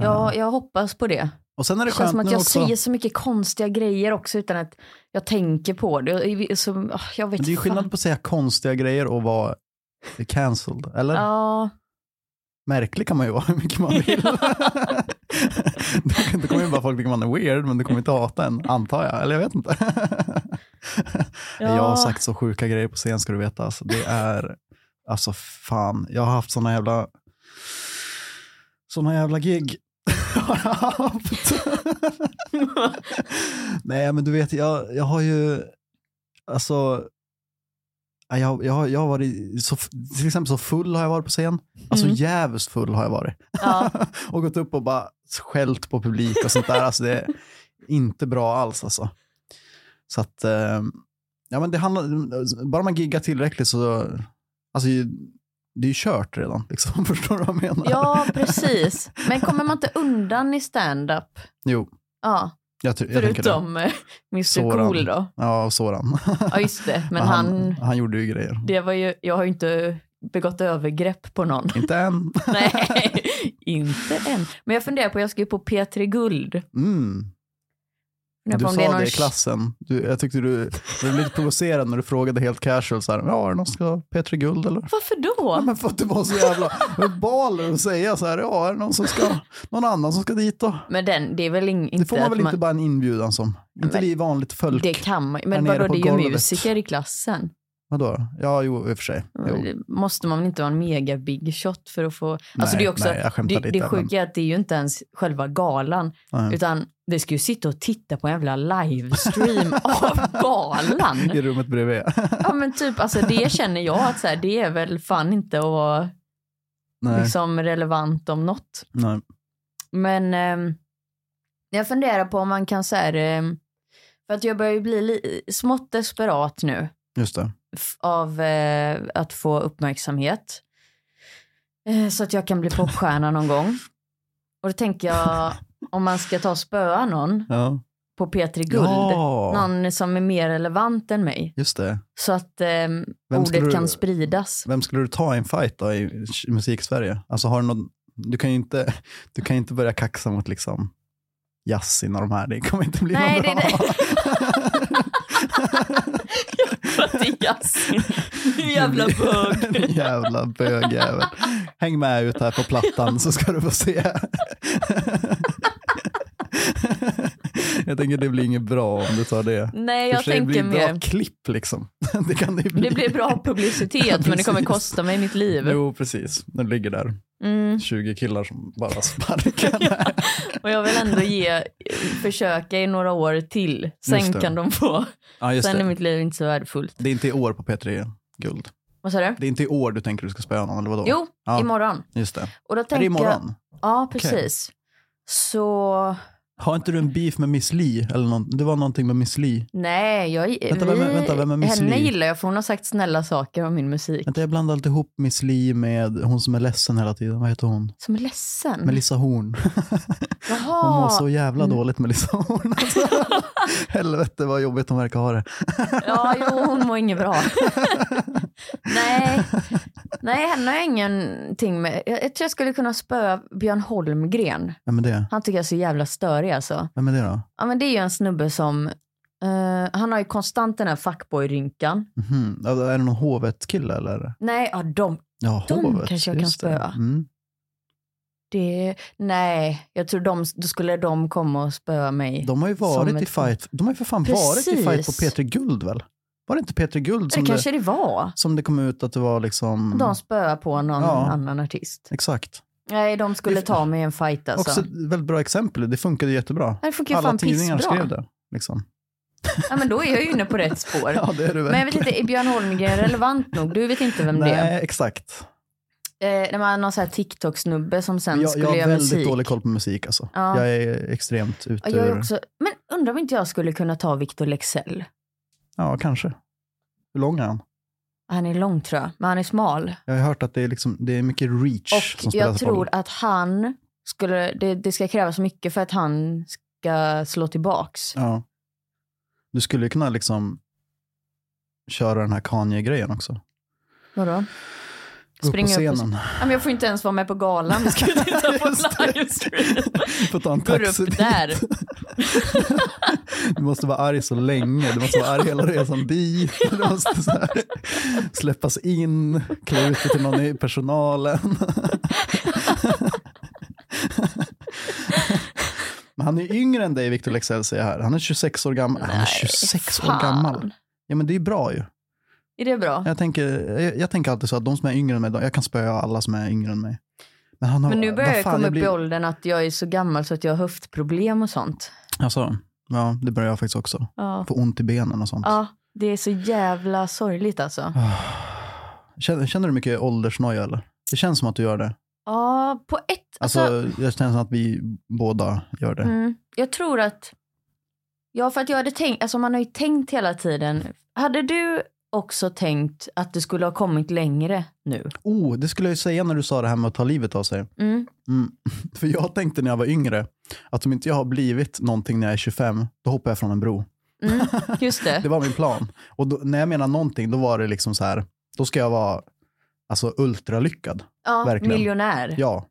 S2: Eh,
S1: jag, jag hoppas på det.
S2: och sen är det
S1: Det känns
S2: skönt
S1: som att
S2: nu
S1: jag
S2: också.
S1: säger så mycket konstiga grejer också utan att jag tänker på det. Jag- Så, åh, jag vet
S2: Men det är ju
S1: fan.
S2: skillnad på att säga konstiga grejer och vara cancelled. Eller?
S1: Ja,
S2: Märklig kan man ju vara <laughs> hur mycket man vill. <laughs> Då- Då kommer ju bara folk tycka man är weird, men du kommer inte hata en, antar jag. Eller jag vet inte. <laughs> Jag har
S1: Ja.
S2: sagt så sjuka grejer på scen ska du veta. Alltså, det är, alltså fan, jag har haft såna jävla, såna jävla gig. <laughs> Har jag haft. <laughs> Nej men du vet, jag, jag har ju, alltså, jag, jag, har- jag har varit, så, till exempel så full har jag varit på scen. Alltså
S1: Mm.
S2: jävligt full har jag varit.
S1: <laughs> ja.
S2: och gått upp och bara skällt på publik och sånt där. Alltså det är inte bra alls alltså. Så att, eh, ja men det handlar, bara man giggar tillräckligt så, alltså det är ju kört redan liksom. <laughs> Förstår du vad jag menar?
S1: ja, precis. Men kommer man inte undan i stand-up?
S2: Jo,
S1: Ja,
S2: jag, ty- jag tänker det.
S1: förutom eh, Mr
S2: Soran.
S1: Cool då.
S2: Ja, och Soran.
S1: Ja, just det.
S2: <laughs>
S1: Men han,
S2: han gjorde ju grejer.
S1: det var ju, jag har ju inte begått övergrepp på
S2: <laughs>
S1: någon.
S2: Inte än.
S1: Nej, <laughs> inte än. Men jag funderar på, jag ska ju på P3 Guld.
S2: Mm.
S1: Funderar
S2: Du
S1: på om
S2: sa
S1: är
S2: det,
S1: någon
S2: i klassen. Du, jag tyckte du, du blev lite provocerad när du frågade helt casual så här, ja är det någon som ska ha P3 Guld eller?
S1: Varför
S2: Ja,
S1: då?
S2: men för att det var så
S1: <laughs>
S2: jävla baler att säga så här, ja är det någon, som ska, någon annan som ska dit då?
S1: Men den, det är väl in, inte
S2: Det får man
S1: att
S2: väl inte bara en inbjudan som? Inte
S1: Men-
S2: det är vanligt folk?
S1: Det kan man
S2: Här
S1: Men
S2: nere
S1: vadå,
S2: på
S1: det är ju
S2: golvet.
S1: musiker i klassen.
S2: Vadå? Ja, jo i och för sig. Jo.
S1: Måste man väl inte vara en mega big shot för att få... alltså det är också,
S2: nej, jag skämtar
S1: det,
S2: lite.
S1: det
S2: men-
S1: sjuka är att det är ju inte ens själva galan,
S2: nej.
S1: utan vi ska ju sitta och titta på en jävla livestream <laughs> av
S2: <laughs> I
S1: galan.
S2: rummet bredvid.
S1: Ja men typ, alltså det känner jag att så här, det är väl fan inte att vara
S2: Nej,
S1: liksom relevant om något.
S2: nej.
S1: Men ehm, jag funderar på om man kan så här, ehm, för att jag börjar ju bli li- smått desperat nu
S2: Just det.
S1: f- av eh, att få uppmärksamhet. Eh, så att jag kan bli popstjärna någon gång. Och då tänker jag om man ska ta och spöa någon
S2: <laughs> Ja.
S1: på P3 Guld.
S2: ja,
S1: Någon som är mer relevant än mig.
S2: just det.
S1: Så att ehm,
S2: Vem
S1: ordet
S2: skulle du-
S1: kan spridas.
S2: Vem skulle du ta i en fight då i musik-Sverige? Alltså har du någon, du kan ju inte, du kan ju inte börja kaxa mot liksom Yasin och de här, det kommer inte bli
S1: Nej,
S2: någon
S1: det är
S2: bra.
S1: <laughs> Mattias, du jävla bög.
S2: Jävla bögjävel. Häng med ut här på plattan så ska du få se. Jag tänker det blir inget bra om du tar det.
S1: <laughs> Nej,
S2: I och
S1: jag
S2: för sig,
S1: tänker
S2: det blir bra
S1: mer.
S2: klipp liksom. <laughs> Det kan det ju bli.
S1: Det blir bra publicitet
S2: <laughs> Ja,
S1: men det kommer
S2: precis.
S1: kosta mig mitt liv.
S2: Jo, precis. Nu ligger där
S1: Mm.
S2: 20 killar som bara
S1: <laughs>
S2: sparkar.
S1: Och jag vill ändå ge, försöka i några år till.
S2: Just
S1: Sen
S2: det.
S1: kan de få.
S2: ja, just
S1: Sen är
S2: det.
S1: mitt liv inte så värdefullt.
S2: Det är inte i år på P3 Guld.
S1: Vad sa du?
S2: Det är inte i år du tänker du ska spöa någon, eller vadå?
S1: Jo,
S2: Ja.
S1: imorgon.
S2: Just det.
S1: Och då
S2: Är det
S1: tänker jag,
S2: imorgon?
S1: ja precis. Så
S2: Har inte du en beef med Miss Li? Eller någon, det var någonting med Miss Li.
S1: nej, jag,
S2: Vänta, vem är- vänta, vem är Miss
S1: henne
S2: Li?
S1: gillar jag för hon har sagt snälla saker om min musik.
S2: Vänta, jag blandar alltid ihop Miss Li med hon som är ledsen hela tiden. Vad heter hon?
S1: Som är ledsen.
S2: Melissa Horn. <laughs> Hon mår
S1: Jaha,
S2: så jävla
S1: Mm.
S2: dåligt,
S1: <laughs>
S2: Melissa Horn. Alltså. <laughs> Helvete vad jobbigt hon verkar ha det.
S1: ja jo hon mår
S2: <laughs>
S1: inget bra. nej, nej henne har jag ingenting med. Jag, jag tror jag skulle kunna spöa Björn Holmgren.
S2: Vem är det?
S1: Han tycker jag är så jävla störig alltså.
S2: Vem är det då?
S1: Ja men det är ju en snubbe som, eh, han har ju konstant den här fuckboy-rynkan.
S2: Mhm. Ja, Är det någon hovet-kille eller?
S1: Nej, ja, de,
S2: Ja,
S1: De
S2: hovet.
S1: kanske jag kan
S2: just det.
S1: spöa.
S2: Mm.
S1: det, nej, jag tror de, då skulle de komma och spöa mig.
S2: De har ju
S1: Som
S2: varit
S1: ett-
S2: i fight. De har ju för fan varit i fight på
S1: Precis.
S2: P3 Guld väl? Var det inte P3 Guld som
S1: det
S2: det,
S1: kanske det var.
S2: som det kom ut att det var liksom?
S1: De spöar på någon
S2: Ja.
S1: annan artist.
S2: Exakt.
S1: Nej, de skulle
S2: Det-
S1: ta mig i en fight alltså.
S2: Också ett väldigt bra exempel. Det funkade jättebra.
S1: det funkar ju
S2: Alla
S1: fan
S2: tidningar skrev
S1: pissbra.
S2: det. Liksom.
S1: Ja, men då är jag ju inne på rätt spår.
S2: <laughs> Ja, det är det
S1: Men jag vet inte, är Björn Holmgren relevant nog? Du vet inte vem det är?
S2: Nej, exakt.
S1: Eh, när man har någon sån här TikTok-snubbe som sen
S2: Jag,
S1: skulle
S2: jag har
S1: göra
S2: väldigt
S1: musik.
S2: dålig koll på musik alltså.
S1: Ja.
S2: Jag är extremt
S1: Ja,
S2: ute
S1: jag är
S2: ur...
S1: också, men undrar om inte jag skulle kunna ta Victor Lexell.
S2: Ja, kanske. Hur lång är han?
S1: Han är lång tror jag, men han är smal.
S2: Jag har hört att det är, liksom, det är mycket reach som
S1: Och
S2: spelas
S1: jag
S2: på
S1: tror
S2: bollen.
S1: att han skulle, det, det ska krävas mycket för att han ska slå tillbaks.
S2: Ja. Du skulle ju kunna liksom köra den här Kanye-grejen också. Gå
S1: Vadå?
S2: upp
S1: Springa
S2: på
S1: upp och-
S2: scenen.
S1: <laughs> Ja, men jag får inte ens vara med på galan. Vi ska ju titta på
S2: <laughs> Just det.
S1: livestream.
S2: Får ta en
S1: Går
S2: taxi
S1: upp
S2: dit.
S1: där.
S2: Du måste vara arg så länge. Du måste vara arg hela resan dit. Du måste så här släppas in, klä ut dig till någon i personalen. Men han är yngre än dig, Victor Lexell, säger jag här. Han är 26 år gammal. han är 26 år
S1: fan.
S2: gammal. Ja, men det är ju bra ju.
S1: Är det bra?
S2: Jag tänker, jag, jag tänker alltid så att de som är yngre än mig, de- jag kan spöa alla som är yngre än mig. Men, han har,
S1: Men nu börjar
S2: vad
S1: jag
S2: fan,
S1: komma upp
S2: blir-
S1: i åldern att jag är så gammal så att jag har höftproblem och sånt.
S2: Alltså, ja, det börjar jag faktiskt också.
S1: Ja,
S2: Få ont i benen och sånt.
S1: ja det är så jävla sorgligt alltså.
S2: Känner, känner du mycket åldersnoja eller? Det känns som att du gör det.
S1: Ja, på ett...
S2: Alltså,
S1: Alltså,
S2: jag känner som att vi båda gör det.
S1: mm, jag tror att... Ja, för att jag hade tänkt... Alltså man har ju tänkt hela tiden. Hade du också tänkt att du skulle ha kommit längre nu?
S2: Oh, det skulle jag ju säga när du sa det här med att ta livet av sig.
S1: Mm.
S2: Mm. För jag tänkte när jag var yngre att om inte jag har blivit någonting när jag är 25, då hoppar jag från en bro. <laughs>
S1: Mm, just det.
S2: Det var min plan. Och då, när jag menar någonting, då var det liksom så här, då ska jag vara alltså, ultralyckad.
S1: ja,
S2: verkligen.
S1: miljonär.
S2: Ja.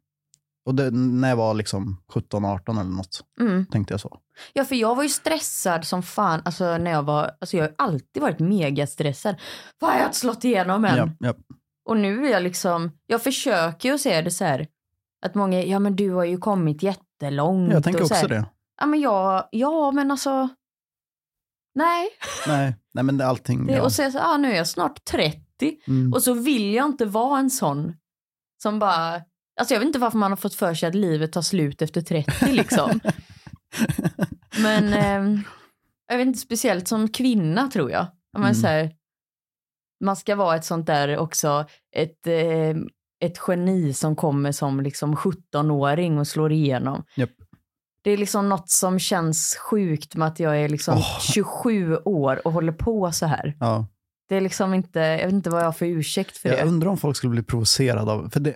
S2: Och det, när jag var liksom 17-18 eller något,
S1: Mm.
S2: tänkte jag så.
S1: Ja, för jag var ju stressad som fan. Alltså, när jag, var, alltså, jag har ju alltid varit mega stressad. Vad har jag inte slått igenom än?
S2: Ja, ja.
S1: Och nu är jag liksom, jag försöker ju se det så här. Att många, ja men du har ju kommit jättelångt.
S2: Jag tänker
S1: och så
S2: också
S1: här.
S2: det.
S1: Ja men jag, ja men alltså. Nej.
S2: Nej, nej men det är allting.
S1: Det,
S2: ja.
S1: Och så är jag så, ah, nu är jag snart 30.
S2: Mm.
S1: Och så vill jag inte vara en sån. Som bara, alltså jag vet inte varför man har fått för sig att livet tar slut efter 30 liksom.
S2: <laughs>
S1: men ehm, jag vet inte, speciellt som kvinna tror jag. Ja, Men
S2: Mm.
S1: så här, man ska vara ett sånt där också, ett eh, ett geni som kommer som liksom 17-åring och slår igenom.
S2: Japp.
S1: Det är liksom något som känns sjukt med att jag är liksom
S2: Åh.
S1: 27 år och håller på så här.
S2: <laughs> Ja.
S1: Det är liksom inte, jag vet inte vad jag har för ursäkt för
S2: Jag
S1: det.
S2: undrar om folk skulle bli provocerade av, för det,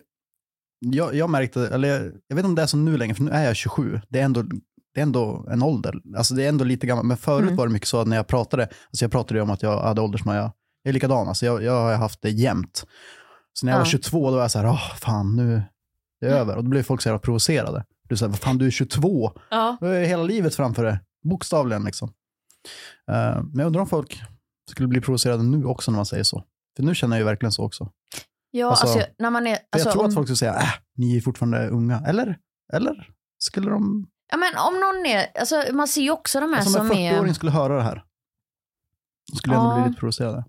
S2: jag, jag märkte, eller jag, jag vet inte om det är som nu längre, för nu är jag 27. Det är ändå, det är ändå en ålder, alltså det är ändå lite gammalt. Men förut
S1: Mm.
S2: var det mycket så att när jag pratade, alltså jag pratade ju om att jag hade åldersnoja. Jag är likadan, alltså jag, jag har haft det jämt. Så när jag
S1: Ja. Mm.
S2: var 22 då var jag så här, åh fan nu är det över. Och då blev folk så här provocerade. Du säger, vad fan du är 22,
S1: Ja.
S2: du har ju hela livet framför dig, bokstavligen liksom. Eh, men jag undrar om folk skulle bli provocerade nu också när man säger så. För nu känner jag ju verkligen så också.
S1: Ja,
S2: Alltså,
S1: alltså, när man är...
S2: För
S1: Alltså,
S2: jag tror
S1: om,
S2: att folk skulle säga, äh, ni är fortfarande unga. Eller? Eller? Skulle de...
S1: ja, men om någon är... Alltså, man ser ju också de här
S2: Alltså, om
S1: som
S2: en
S1: är...
S2: 40-åring skulle höra det här. Då skulle jag ändå
S1: Ja.
S2: bli lite provocerad.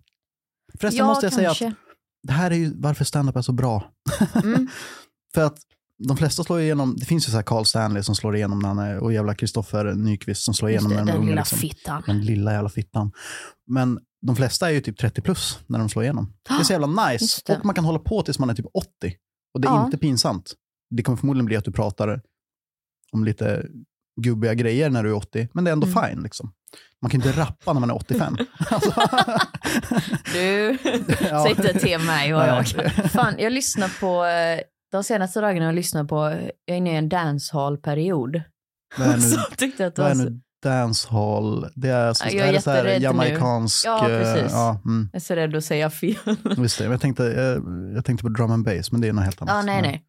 S2: Förresten
S1: Ja,
S2: måste jag
S1: kanske.
S2: säga att det här är ju varför stand-up är så bra.
S1: Mm.
S2: <laughs> För att de flesta slår igenom, det finns ju så här Carl Stanley som slår igenom när han är, och jävla Kristoffer Nyqvist som slår
S1: Just
S2: igenom
S1: det,
S2: när de är
S1: den
S2: unga.
S1: lilla
S2: Liksom.
S1: fittan.
S2: Den lilla jävla fittan. Men de flesta är ju typ 30 plus när de slår igenom. Det är
S1: <gasps>
S2: så jävla nice.
S1: Just det.
S2: Och man kan hålla på tills man är typ 80. Och det är
S1: Ja.
S2: inte pinsamt. Det kommer förmodligen bli att du pratar om lite gubbiga grejer när du är 80. Men det är ändå
S1: Mm.
S2: fine. Liksom.
S1: <laughs>
S2: Man kan ju inte rappa när man är 85. alltså,
S1: Du,
S2: <laughs> Ja.
S1: säg inte till mig vad jag
S2: Nej.
S1: kan. Fan, jag lyssnar på... eh, De senaste dagarna har jag lyssnat på... Jag är inne i en dancehall-period.
S2: vad är nu,
S1: Så tyckte jag att det
S2: vad
S1: var
S2: är
S1: så...
S2: nu dancehall? Det är, så,
S1: Ja, Alltså, jag är
S2: är det så här
S1: jätterädd nu.
S2: jamaikansk...
S1: Ja,
S2: eh,
S1: precis.
S2: Ja, mm,
S1: Jag är så rädd att säga fel.
S2: visst det. Men jag, tänkte, jag, jag tänkte på drum and bass, men det är något helt annat. Mm.
S1: Ja, nej,
S2: Men-
S1: nej.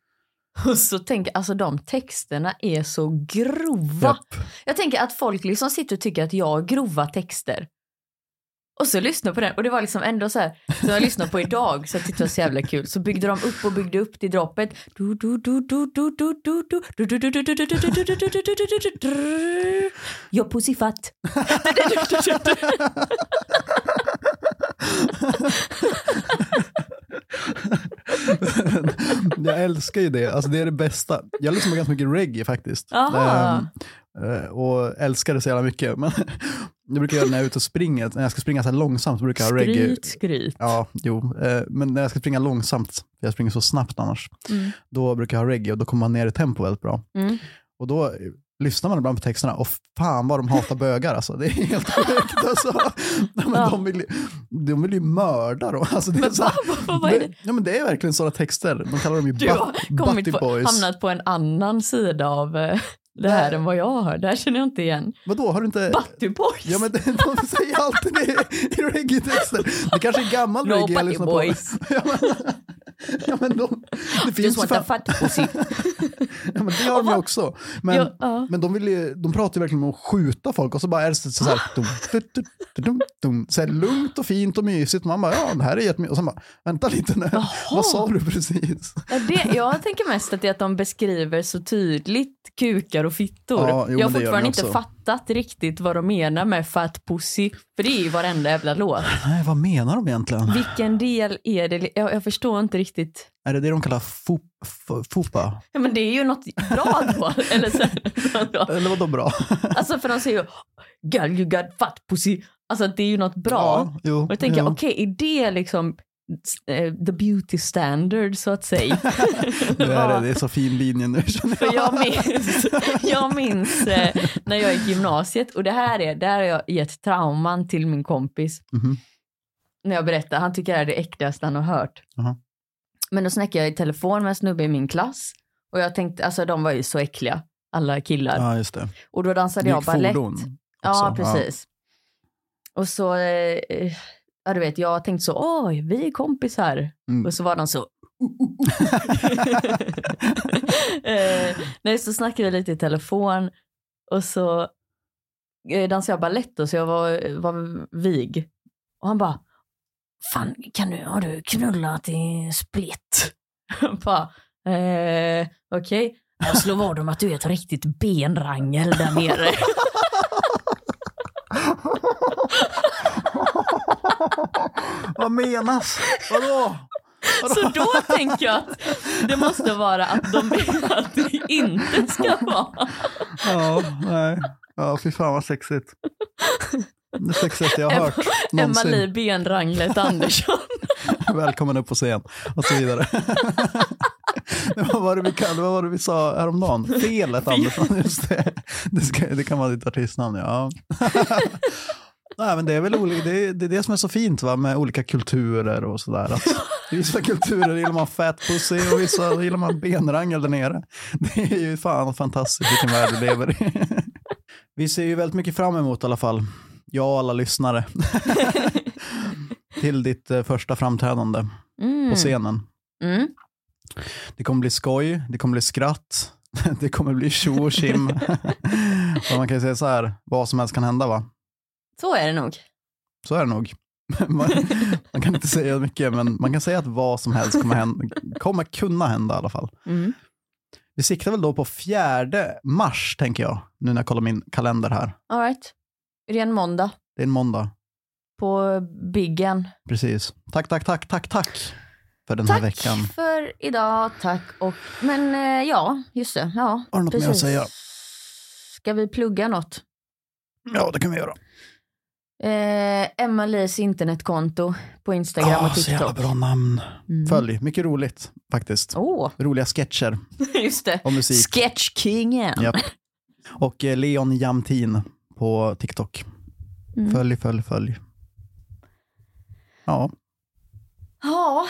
S1: <laughs> Och så tänker alltså de texterna är så grova.
S2: Japp.
S1: Jag tänker att folk liksom sitter och tycker att jag har grova texter. Och så lyssnar jag på den och det var liksom ändå så här som jag lyssnar på idag så jag tyckte det var så jävla kul. Så byggde de upp och byggde upp till droppet. Du, du, du, du, du, du, du, du, du, du, du, du, du, du, du, du, du, du, du, du, du, du, du. Jag pussyfatt.
S2: <laughs> jag älskar ju det. Alltså det är det bästa. Jag lyssnar på ganska mycket reggae faktiskt.
S1: Aha.
S2: Ehm, eh, och älskar det så jävla mycket. Men <laughs> jag brukar göra det när jag är ute och springer. När jag ska springa så här långsamt så brukar jag ha reggae.
S1: Skryt, skryt.
S2: Ja, jo. Eh, men när jag ska springa långsamt, för jag springer så snabbt annars,
S1: Mm.
S2: då brukar jag ha reggae och då kommer man ner i tempo väldigt bra.
S1: Mm.
S2: Och då eh, lyssnar man ibland på texterna och fan vad de hatar bögar alltså. Det är helt sjukt
S1: <laughs>
S2: alltså. Nej, men
S1: Ja.
S2: de, vill, ju- de vill ju mörda dem. Alltså, det är så här,
S1: Vad är det?
S2: ja, men det är verkligen sådana texter. De kallar dem ju
S1: Du har
S2: butt- butty
S1: kommit på,
S2: boys.
S1: hamnat på en annan sida av eh, det här än vad jag har. Det här känner jag inte igen.
S2: Vadå, har du inte...
S1: Butty boys.
S2: Ja men det- de säger alltid det i reggae-texter. Det kanske är gammal
S1: No
S2: reggae
S1: butty
S2: jag lyssnar på.
S1: boys.
S2: Ja, men, ja, men de, det finns
S1: Just
S2: ju
S1: want a
S2: fan,
S1: fat pussy.
S2: ja, men det gör de ju också. Men,
S1: Ja, ja.
S2: Men de, vill ju, de pratar ju verkligen om att skjuta folk och så bara är det så så här,
S1: Ah.
S2: dum, dum, dum, dum, dum, så här lugnt och fint och mysigt. Man bara, ja det här är jättemysigt. Och sen bara, vänta lite nu, vad sa du precis?
S1: Ja, det, jag tänker mest att det är att de beskriver så tydligt kukar och fittor.
S2: Ja, jo,
S1: jag har
S2: men det gör de
S1: fortfarande inte
S2: också.
S1: fattat riktigt vad de menar med fat pussy. För det är ju varenda jävla låt.
S2: Nej, vad menar de egentligen?
S1: Vilken del är det? Jag, jag förstår inte riktigt.
S2: Är det det de kallar fop, f- fopa?
S1: Ja, men det är ju något bra då. <laughs> Eller så, här-
S2: Eller vadå bra?
S1: alltså för de säger ju girl you got fat pussy. Alltså det är ju något bra.
S2: jo.
S1: Och då tänker
S2: jo.
S1: jag, okej, är det liksom eh, the beauty standard så att säga?
S2: det, är, det är så fin linje nu känner
S1: För <laughs> jag minns, <laughs> jag minns eh, när jag gick i gymnasiet och det här är, där har jag gett trauman till min kompis.
S2: Mhm.
S1: När jag berättar, han tycker det här är det äckligaste han har hört.
S2: Jaha.
S1: Men då snackade jag i telefon med en snubbe i min klass och jag tänkte, alltså de var ju så äckliga, alla killar.
S2: Ja, just det.
S1: Och då dansade
S2: Det
S1: jag
S2: gick
S1: ballett.
S2: fordon också.
S1: Ja, precis. Och så, eh, eh, ja du vet, jag tänkte så, oj, vi är kompisar.
S2: Mm.
S1: Och så var de
S2: <laughs>
S1: så, "Uh, eh, nej, så snackade vi lite i telefon och så eh, dansade jag ballett och så jag var, var vig. Och han bara, fan kan du, har du knullat i split? <laughs> Jag bara, eh, okej. Jag slår vad om att du är ett riktigt benrangel där nere.
S2: Vad menas? Vadå?
S1: Så då tänker jag att det måste vara att de vill att det inte ska vara.
S2: Ja, nej. Ja, fy fan vad sexigt. det sexigaste jag har hört
S1: Emma Li
S2: någonsin.
S1: Benranglet Andersson.
S2: <laughs> Välkommen upp på scen och så vidare. <laughs> Men vad, var det vi kallade, vad var det vi sa häromdagen? Felet Andersson, just det. Det, ska, det kan vara ditt artistnamn, ja. <laughs> Nej, men det är väl olika, det, är, det är det som är så fint va, med olika kulturer och sådär. Att I vissa kulturer gillar man fat pussy och vissa gillar man benrangel där nere. Det är ju fan fantastiskt vilken värld vi lever i. <laughs> Vi ser ju väldigt mycket fram emot i alla fall, jag och alla lyssnare, till ditt eh, första framträdande
S1: <laughs> Mm.
S2: på scenen.
S1: Mm.
S2: Det kommer bli skoj, det kommer bli skratt, <laughs> det kommer bli tjo och <laughs> tjim. Och man kan ju säga så här, vad som helst kan hända va?
S1: Så är det nog.
S2: Så är det nog. <laughs> Man, man kan inte säga mycket, men man kan säga att vad som helst kommer, hända, kommer kunna hända i alla fall.
S1: Mm.
S2: Vi siktar väl då på fjärde mars, tänker jag, nu när jag kollar min kalender här.
S1: All right. Ren måndag
S2: Det är en måndag,
S1: på Biggen.
S2: precis. Tack, tack, tack, tack, tack Mm. för den här
S1: Tack
S2: veckan.
S1: för idag, tack och... Men eh, ja, just det. Ja,
S2: Har du något mer att säga?
S1: Ska vi plugga något?
S2: Ja, det kan vi göra.
S1: Eh, Emma Lis internetkonto på Instagram
S2: Ah,
S1: och
S2: så jävla
S1: TikTok.
S2: bra namn.
S1: Mm.
S2: Följ, mycket roligt faktiskt.
S1: Åh,
S2: Roliga sketcher
S1: just det.
S2: och musik.
S1: Sketchkingen.
S2: Japp. Och eh, Leon Jamtin på TikTok.
S1: Mm.
S2: Följ, följ, följ. Ja,
S1: Ja,